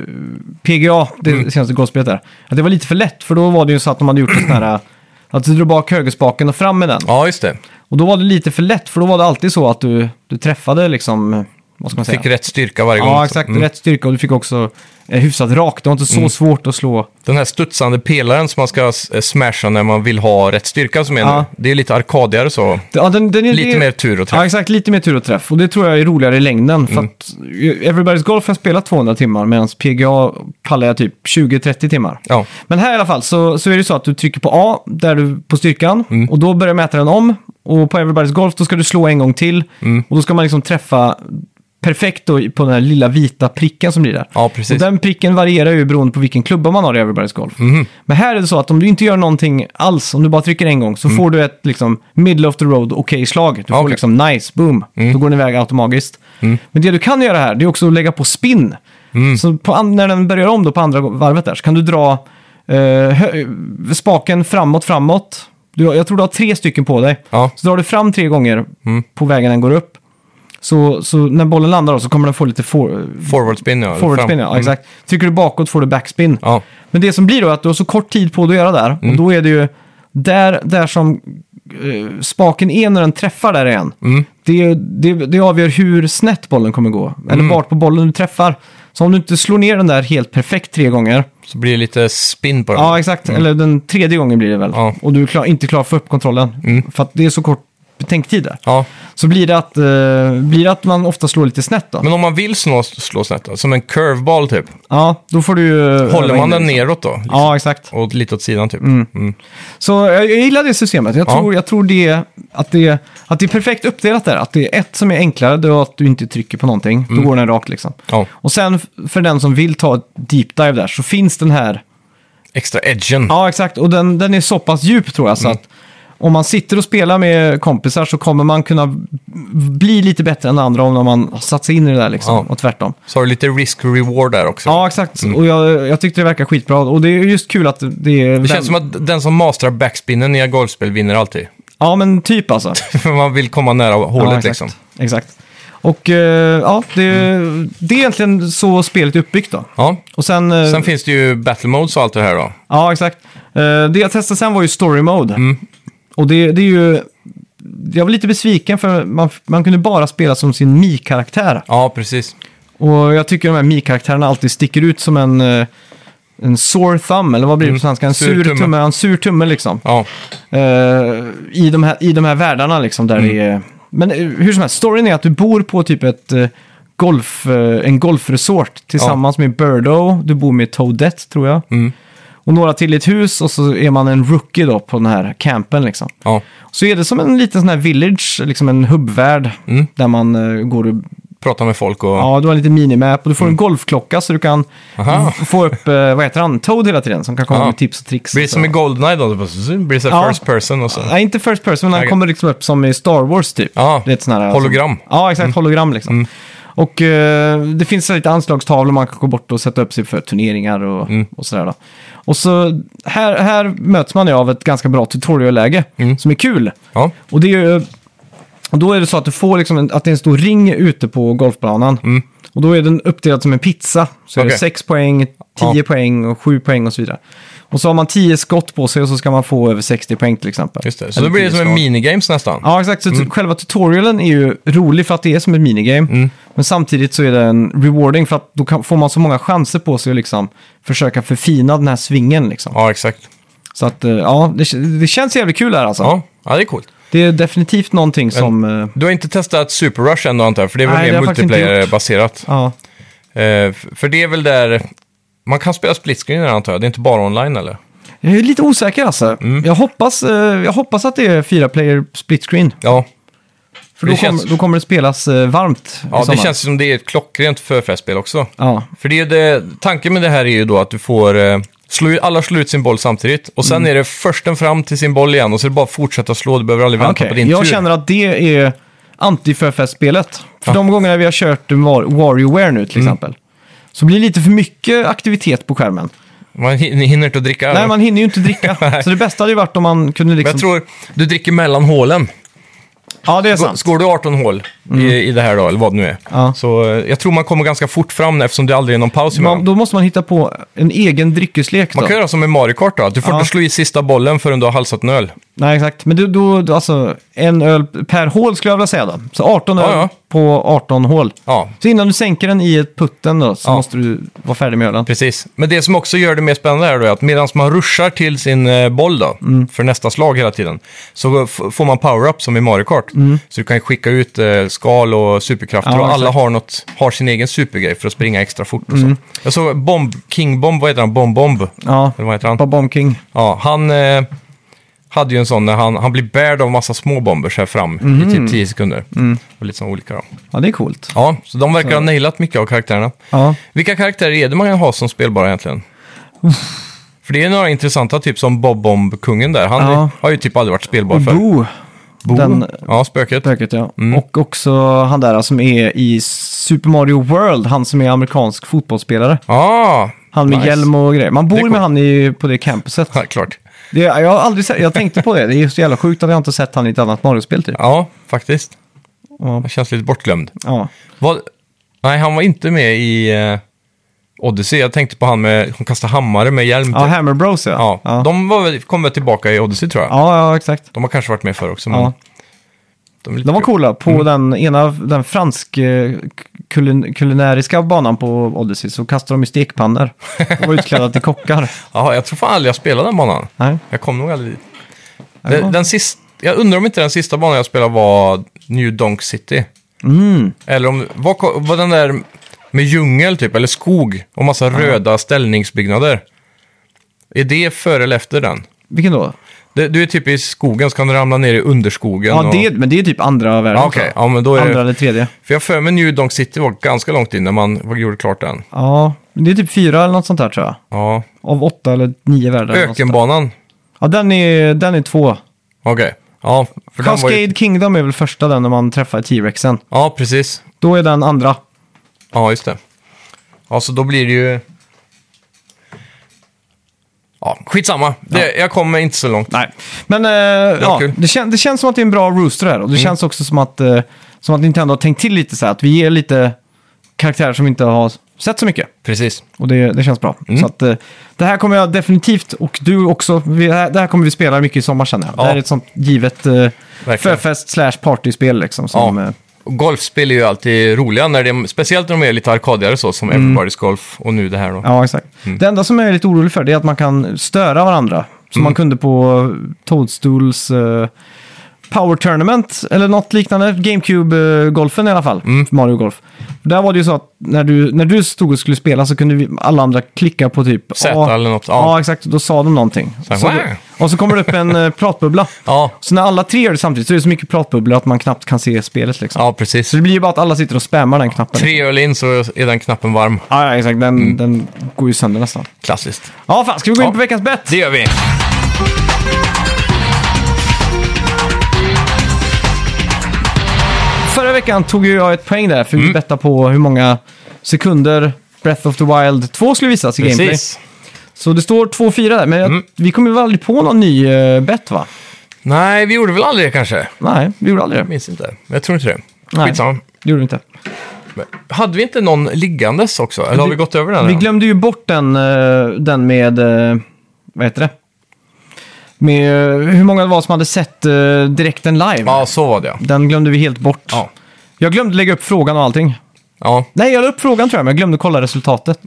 PGA, det Mm. senaste golfspelet där, att det var lite för lätt. För då var det ju så att de hade gjort en sån här, att du drar bak högerspaken och fram med den. Ja, just det. Och då var det lite för lätt, för då var det alltid så att du, du träffade liksom vad ska man säga? Fick rätt styrka varje gång. ja, exakt. Mm. Rätt styrka och du fick också eh, hyfsat rakt. Det var inte så svårt att slå. Den här studsande pelaren som man ska eh, smasha när man vill ha rätt styrka som är Ja. nu. Det är lite arkadigare så. Ja, den, den är, Lite det- mer tur och träff. Mm. Ja, exakt. Lite mer tur och träff. Och det tror jag är roligare i längden. För att eh, Everybody's Golf har jag spelat 200 timmar medan PGA pallar jag typ 20-30 timmar. Ja. Men här i alla fall så, så är det så att du trycker på A där du, på styrkan Mm. och då börjar mätaren om. Och på Everybody's Golf då ska du slå en gång till Mm. och då ska man liksom träffa perfekt då, i- på den här lilla vita pricken som blir där. Ja, precis. Och den pricken varierar ju beroende på vilken klubba man har i Everybody's Golf. Mm-hmm. Men här är det så att om du inte gör någonting alls, om du bara trycker en gång, så får du ett liksom middle of the road okej slag. Du får Mm. okej. liksom nice, boom. Mm. Då går den iväg automatiskt. Men det du kan göra här, det är också att lägga på spin. Mm. Så på, an- när den börjar om då på andra varvet där, så kan du dra eh, hö- spaken framåt, framåt. Du, har- jag tror du har tre stycken på dig. Ja. Mm. Så drar du fram tre gånger på vägen den går upp. Så, så när bollen landar då, så kommer den få lite for, Forward spin, ja. Forward Fram- spin, ja. Mm. Exakt. Trycker du bakåt får du backspin. Ja. Men det som blir då är att du har så kort tid på dig att göra där. Mm. Och då är det ju där, där som eh, spaken är när den träffar där igen. Mm. Det, det, det avgör hur snett bollen kommer gå. Mm. Eller vart på bollen du träffar. Så om du inte slår ner den där helt perfekt tre gånger. Så blir det lite spin på den. Ja, exakt. Eller den tredje gången blir det väl. Mm. Ja. Mm. Och du är klar, inte klar för upp kontrollen. För att det är så kort betänktid där. Ja. Så blir det att, eh, blir det att man ofta slår lite snett då. Men om man vill slå, slå snett då, som en curveball typ, ja, då får du ju... eh, håller man den neråt då? Liksom, Ja, exakt. Och lite åt sidan typ? Mm. Så jag, jag gillar det systemet. Jag Ja. tror, jag tror det, att, det, att det är perfekt uppdelat där. Att det är ett som är enklare, det är att du inte trycker på någonting. Mm. Då går den rakt liksom. Ja, Och sen f- för den som vill ta ett deep dive där så finns den här. extra edgen. Ja, exakt. Och den, den är så pass djup tror jag Mm. så att om man sitter och spelar med kompisar så kommer man kunna b- bli lite bättre än andra om man har satt sig in i det där liksom. Ja. Mm. Och tvärtom. Så har du lite risk-reward där också. Ja, exakt. Och jag, jag tyckte det verkar skitbra. Och det är just kul att det är... det känns som att den som mastrar backspinnen i ett golfspel vinner alltid. Ja, men typ alltså. För man vill komma nära exakt. hålet liksom. Mm. Exakt. Och eh, ja, det, det är egentligen så spelet är uppbyggt då. Ja. Och sen, eh, Sen finns det ju battle modes och allt det här då. ja exakt. Eh, det jag testade sen var ju story mode. Mm. Och det, det är ju, jag var lite besviken för man, man kunde bara spela som sin Mi-karaktär. Ja, precis. Och jag tycker de här Mi-karaktärerna alltid sticker ut som en, eh, en sore thumb, eller vad blir det på svenska? En Mm. Sur sur tumme. tumme, en sur tumme liksom. Ja, Eh, i, de här, I de här världarna liksom där Mm. det är... Men eh, hur som helst, storyn är att du bor på typ ett eh, golf, eh, en golfresort tillsammans med Birdo, du bor med Toadette tror jag. Mm. Och några till i ett hus och så är man en rookie då på den här campen liksom. ja. Så är det som en liten sån här village, liksom en hubbvärld Mm. där man eh, går och... Prata med folk och... Ja, du har en liten minimap och du får en golfklocka så du kan Mm. Aha. f- få upp, eh, vad heter han, Toad hela tiden som kan komma Ja. med tips och tricks. Blir det och så. som i Goldeneye då? Det bara zzz, Blir det så här Ja. first person och så? Nej, inte first person, men han alltså. Okej. kommer liksom upp som i Star Wars typ. Ja, Det är ett sån här, hologram. Mm. ja, exakt. Hologram liksom. Och eh, det finns så här lite anslagstavlor man kan gå bort och sätta upp sig för turneringar och, Mm. och sådär. Då. Och så här, här möts man ju av ett ganska bra tutorialläge Mm. som är kul. Ja, Och det är ju, och då är det så att du får liksom en, att det är en stor ring ute på golfbanan. Och då är den uppdelad som en pizza. Så är det Mm. Okej. 6 poäng, 10 Ja. poäng och 7 poäng och så vidare. Och så har man 10 skott på sig och så ska man få över 60 poäng till exempel. just det. Så Eller då blir det 10 som en Mm. slag. minigames nästan. Ja, exakt. Så själva tutorialen är ju rolig för att det är som ett minigame. Mm. Men samtidigt så är den rewarding för att då kan, får man så många chanser på sig att liksom försöka förfina den här svingen. Liksom. Ja, exakt. Så att, eh, ja, det, det känns jävligt kul här alltså. Ja, ja det är coolt. Det är definitivt någonting som... eh, Du har inte testat Super Rush än då antar jag, för det är väl Nej, det mer har jag faktiskt inte multiplayer-baserat. ja. Eh, f- för det är väl där... Man kan spela split screen där antar jag, det är inte bara online eller? Jag är lite osäker alltså. Mm. Jag, hoppas, eh, jag hoppas att det är fyra player split screen. Ja, För Det då, känns- kommer, då kommer det spelas eh, varmt i ja det sommar. känns som det är ett klockrent förfestspel också. Ja, För det är ju det, tanken med det här är ju då att du får... Eh, slå, ut- alla slår ut sin boll samtidigt och sen Mm. är det försten fram till sin boll igen och så är det bara att fortsätta slå, du behöver aldrig vänta Okej, på din jag tur. känner att det är anti-förfestspelet. För de gångerna vi har kört War- WarioWare nu Mm. till exempel, så blir det lite för mycket aktivitet på skärmen. Man hin- hinner inte att dricka. Nej, man hinner ju inte dricka. så det bästa hade ju varit om man kunde Men liksom... jag tror du dricker mellan hålen. Ja, det är Går- sant. Mm. Skår du 18 hål i, i det här då, eller vad det nu är. Ja. Så eh, jag tror man kommer ganska fort fram eftersom det aldrig är någon paus emellan. Man, då måste man hitta på en egen dryckeslek då. Man kan göra som med Mario Kart då, att du får inte slå i sista bollen förrän du har halsat en öl. Nej, exakt. Men du, då, då, alltså en öl per hål skulle jag vilja säga då. Så 18 Ja, öl ja. på 18 hål. Ja, Så innan du sänker den i ett putten då, så Ja. måste du vara färdig med ölen. precis. Men det som också gör det mer spännande här då är att medan man ruschar till sin eh, boll då, Mm. för nästa slag hela tiden, så f- får man power-up som i Mario Kart. Så du kan skicka ut eh, skal och superkrafter Mm. Ja, och alla exakt. Mm. har, något, har sin egen supergrej för att springa extra fort och så. Jag såg Bomb, King Bomb, vad heter han? Bomb Bomb? Ja, Eller vad heter han? på Bomb King. Ja, han eh, hade ju en sån när han, han blir bärd av massa små bomber så här fram Mm. i typ 10 sekunder. Och lite sådana olika då. Ja, det är coolt. Ja, så de verkar ha nailat mycket av karaktärerna. Ja. Vilka karaktärer är det man kan ha som spelbara egentligen? För det är några intressanta, typ som Bob Bomb, kungen där. Han Ja. har ju typ aldrig varit spelbar Och för. Bo, den Ja, spöket. spöket ja. Mm. Och också han där som är i Super Mario World, han som är amerikansk fotbollsspelare. Ja, Han med Nice. hjälm och grejer. Man Det är bor med coolt. han i, på det campuset. ah, klart. Det, jag har aldrig sett, jag tänkte på det, det är så jävla sjukt att jag inte sett han i ett annat Mario-spel typ. Ja, faktiskt. Ja. Han känns lite bortglömd. Ja. Vad... Nej, han var inte med i eh, Odyssey. Jag tänkte på han med, hon kastar hammare med hjälm. typ. Ja, Hammer Bros ja. Ja, ja. de var, väl- kom väl tillbaka i Odyssey tror jag. ja, ja exakt. De har kanske varit med förr också, men Ja. de, är lite De var kul. coola på den ena, den fransk eh, kulin, kulinäriska banan på Odyssey så kastade de ju stekpannor och var utklädda till kockar. Ja, jag tror fan aldrig jag spelade den banan. Nej. Jag kom nog aldrig dit. Ja, det var- Den, den sist, jag undrar om inte den sista banan jag spelade var New Donk City. Mm. Eller om, var, ko- var den där med djungel typ, eller skog och massa röda ställningsbyggnader. Är det före eller efter den? Vilken då? Det, du är typ i skogen, så kan du ramla ner i underskogen. Ja, och- det, men det är typ andra världen. Ja, Ah, okej. tror jag. Ja, men då är Andra det... eller tredje. För jag för mig New Donk City var ganska långt in när man gjorde klart den. Ja, men det är typ fyra eller något sånt där tror jag. Ja. Av åtta eller nio världar. eller något sånt där. Ökenbanan. Ja, den är, den är två. Okej. Ja, för den var Cascade ju... Kingdom är väl första den när man träffar T-Rexen. Ja, precis. Då är den andra. Ja, just det. Ja, så då blir det ju... Ja, skitsamma. Det, jag kommer inte så långt. Nej. Men eh, ja, kul. Mm. det, kän, det känns som att det är en bra rooster här. Och det känns också som att, eh, som att Nintendo har tänkt till lite så här. Att vi ger lite karaktärer som vi inte har sett så mycket. Precis. Och det, det känns bra. Mm. Så att, eh, det här kommer jag definitivt, och du också, vi, det här- det här kommer vi spela mycket i sommar känner jag. Ja. Det här är ett sånt givet eh, Verkligen. förfest slash partyspel liksom. Som, Ja. eh, Och golfspel är ju alltid roliga, när det, speciellt när de är lite arkadigare så, som Everybody's Golf och nu det här då. Mm. Ja, exakt. Mm. Det enda som jag är lite orolig för det är att man kan störa varandra. Som Mm. man kunde på eh, Toadstools eh, Power Tournament eller något liknande. GameCube-golfen i alla fall. Mm. Mario Golf. Där var det ju så att när du, när du stod och skulle spela så kunde vi, alla andra klicka på typ... Z A. eller något, ja. Ja. exakt. Då sa de någonting. Så här, Så "Wow." då, och så kommer det upp en eh, pratbubbla. Ja, Så när alla tre gör det samtidigt så är det så mycket pratbubblor att man knappt kan se spelet liksom. ja precis. Så det blir ju bara att alla sitter och spammar den knappen. Tre Mm. öl in så är den knappen varm. Ja, ja, exakt. Den, den går ju sönder nästan. Klassiskt. Ja, fan. Ska vi gå in Ja. på veckans bett? Det gör vi. Förra veckan tog ju jag ett poäng där, för Mm. vi bettade på hur många sekunder Breath of the Wild 2 skulle visas i gameplay. Precis. Mm. Så det står 2-4 där, men jag, vi kom ju aldrig på någon ny uh, bett va? Nej, vi gjorde väl aldrig det kanske? Nej, vi gjorde aldrig det. Minns inte. Jag tror inte det. Nej. Skitsamma. Det gjorde vi inte. Men Hade vi inte någon liggandes också? Eller har vi gått över den? Vi redan? glömde ju bort den, eh, den med, eh, vad heter det? Med eh, hur många det var som hade sett eh, direkten live. Ja, så var det ja. Den glömde vi helt bort. Ja. Jag glömde lägga upp frågan och allting. ja. Nej, jag la upp frågan tror jag, men jag glömde kolla resultatet.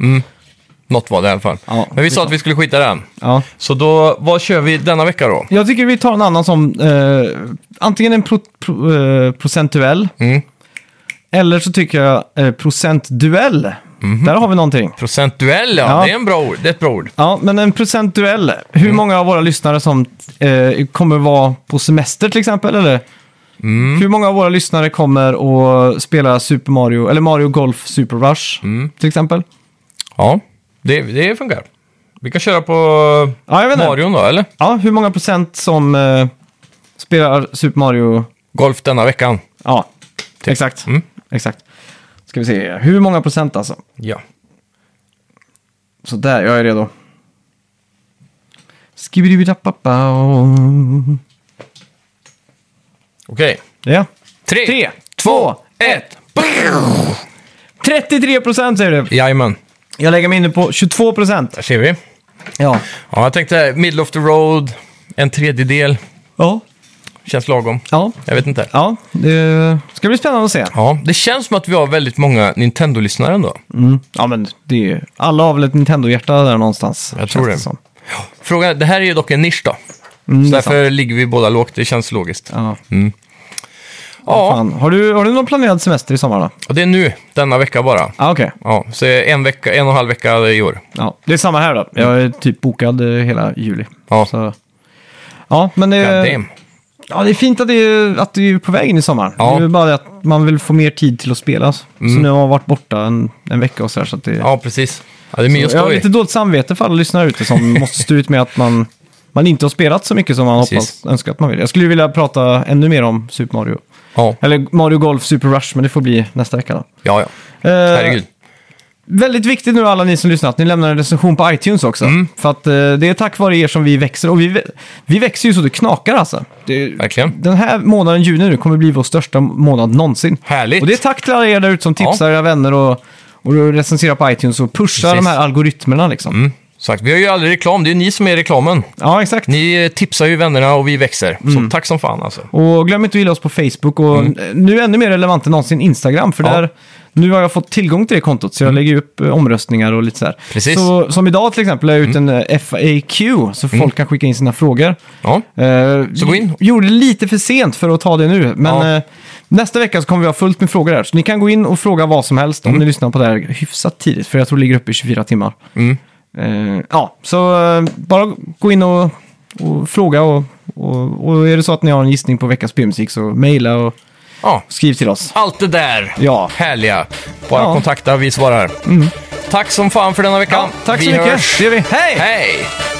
Något var det i alla fall. Ja, Mm. Men vi det sa att vi skulle skita i den. Ja. Så då, vad kör vi denna vecka då? Jag tycker vi tar en annan som eh, antingen en pro, pro, eh, procentuell Mm. eller så tycker jag eh, procentduell. Där har vi någonting. Procentuell, ja. Ja. Det, är en bra ord. det är ett bra ord. Ja, men en procentduell. Hur många av våra lyssnare som eh, kommer vara på semester till exempel? Eller? Hur många av våra lyssnare kommer att spela Super Mario, eller Mario Golf Super Rush till exempel? Ja, det, det funkar. Vi kan köra på Ja, jag vet inte. Marion då, eller? Ja, hur många procent som eh, spelar Super Mario? Golf denna veckan. Ja, typ. exakt. Mm. Exakt. Ska vi se, hur många procent alltså? Ja. Så där, jag är redo. Skibidibidapapao. Okej. Ja. Tre, Tre, två, två, ett. 33 procent säger du. Jajamän, Jag lägger mig inne på 22 procent. där ser vi. Ja. Ja, jag tänkte middle of the road, en tredjedel. Ja, Känns lagom. ja, Jag vet inte. ja. Det ska bli spännande att se. Ja, det känns som att vi har väldigt många Nintendo-lyssnare ändå. Mm. Ja, men det är ju... Alla har väl ett Nintendo-hjärta där någonstans. Jag känns tror det. som. Frågan, det här är ju dock en nisch då. Mm, så det är därför ligger vi båda lågt, det känns logiskt. Ja, Ja. Fan. Har, du, har du någon planerad semester i sommar då? och det är nu, denna vecka bara. Ja, okej. Ja, så en, vecka, en och en halv vecka i år. Ja, det är samma här då. Jag är typ bokad eh, hela juli. Ja. Så. Ja, men det, God damn. ja, det är fint att, det är, att du är på väg in i sommar. Ja. Mm. Det är bara det att man vill få mer tid till att spela. alltså. Så nu har jag varit borta en, en vecka och sådär. Så att det, Ja, precis. Ja, det är mycket att jag har stå i. lite dåligt samvete för alla lyssnare ute som måste stå ut med att man, man inte har spelat så mycket som man Precis. hoppas önskar att man vill. Jag skulle vilja prata ännu mer om Super Mario. Ja, Eller Mario Golf Super Rush, men det får bli nästa vecka då. ja, ja. Eh, Herregud. Väldigt viktigt nu alla ni som lyssnar att ni lämnar en recension på iTunes också. Mm. För att eh, det är tack vare er som vi växer. Och vi, vä- vi växer ju så det knakar alltså. Det, Verkligen. den här månaden, juni nu, kommer bli vår största månad någonsin. Härligt. Och det är tack till alla er där ute som tipsar era vänner och, och recenserar på iTunes och pushar Precis. de här algoritmerna liksom. Mm, sagt. Vi har ju aldrig reklam, det är ju ni som är reklamen. Ja, exakt. Ni eh, tipsar ju vännerna och vi växer. Mm. Så tack som fan alltså. Och glöm inte att gilla oss på Facebook och eh, nu ännu mer relevant än någonsin Instagram. För Mm. Ja. Mm. där, nu har jag fått tillgång till det kontot så jag lägger upp eh, omröstningar och lite sådär. Precis. Mm. Så, som idag till exempel la jag ut en eh, FAQ så folk kan skicka in sina frågor. Ja, Eh, Så gå in. vi Gjorde det lite för sent för att ta det nu, men Ja. eh, nästa vecka så kommer vi ha fullt med frågor här. Så ni kan gå in och fråga vad som helst Mm. om ni lyssnar på det här hyfsat tidigt, för jag tror det ligger uppe i 24 timmar. Mm. Eh, ja, så eh, bara gå in och, och fråga och, och, och är det så att ni har en gissning på veckans spelmusik så mejla och ja. skriv till oss. allt det där Ja. härliga. Bara Ja. Mm. kontakta, vi svarar. Tack som fan för denna veckan. Ja, tack så vi mycket. Hörs. Det gör vi. Hej! Hej!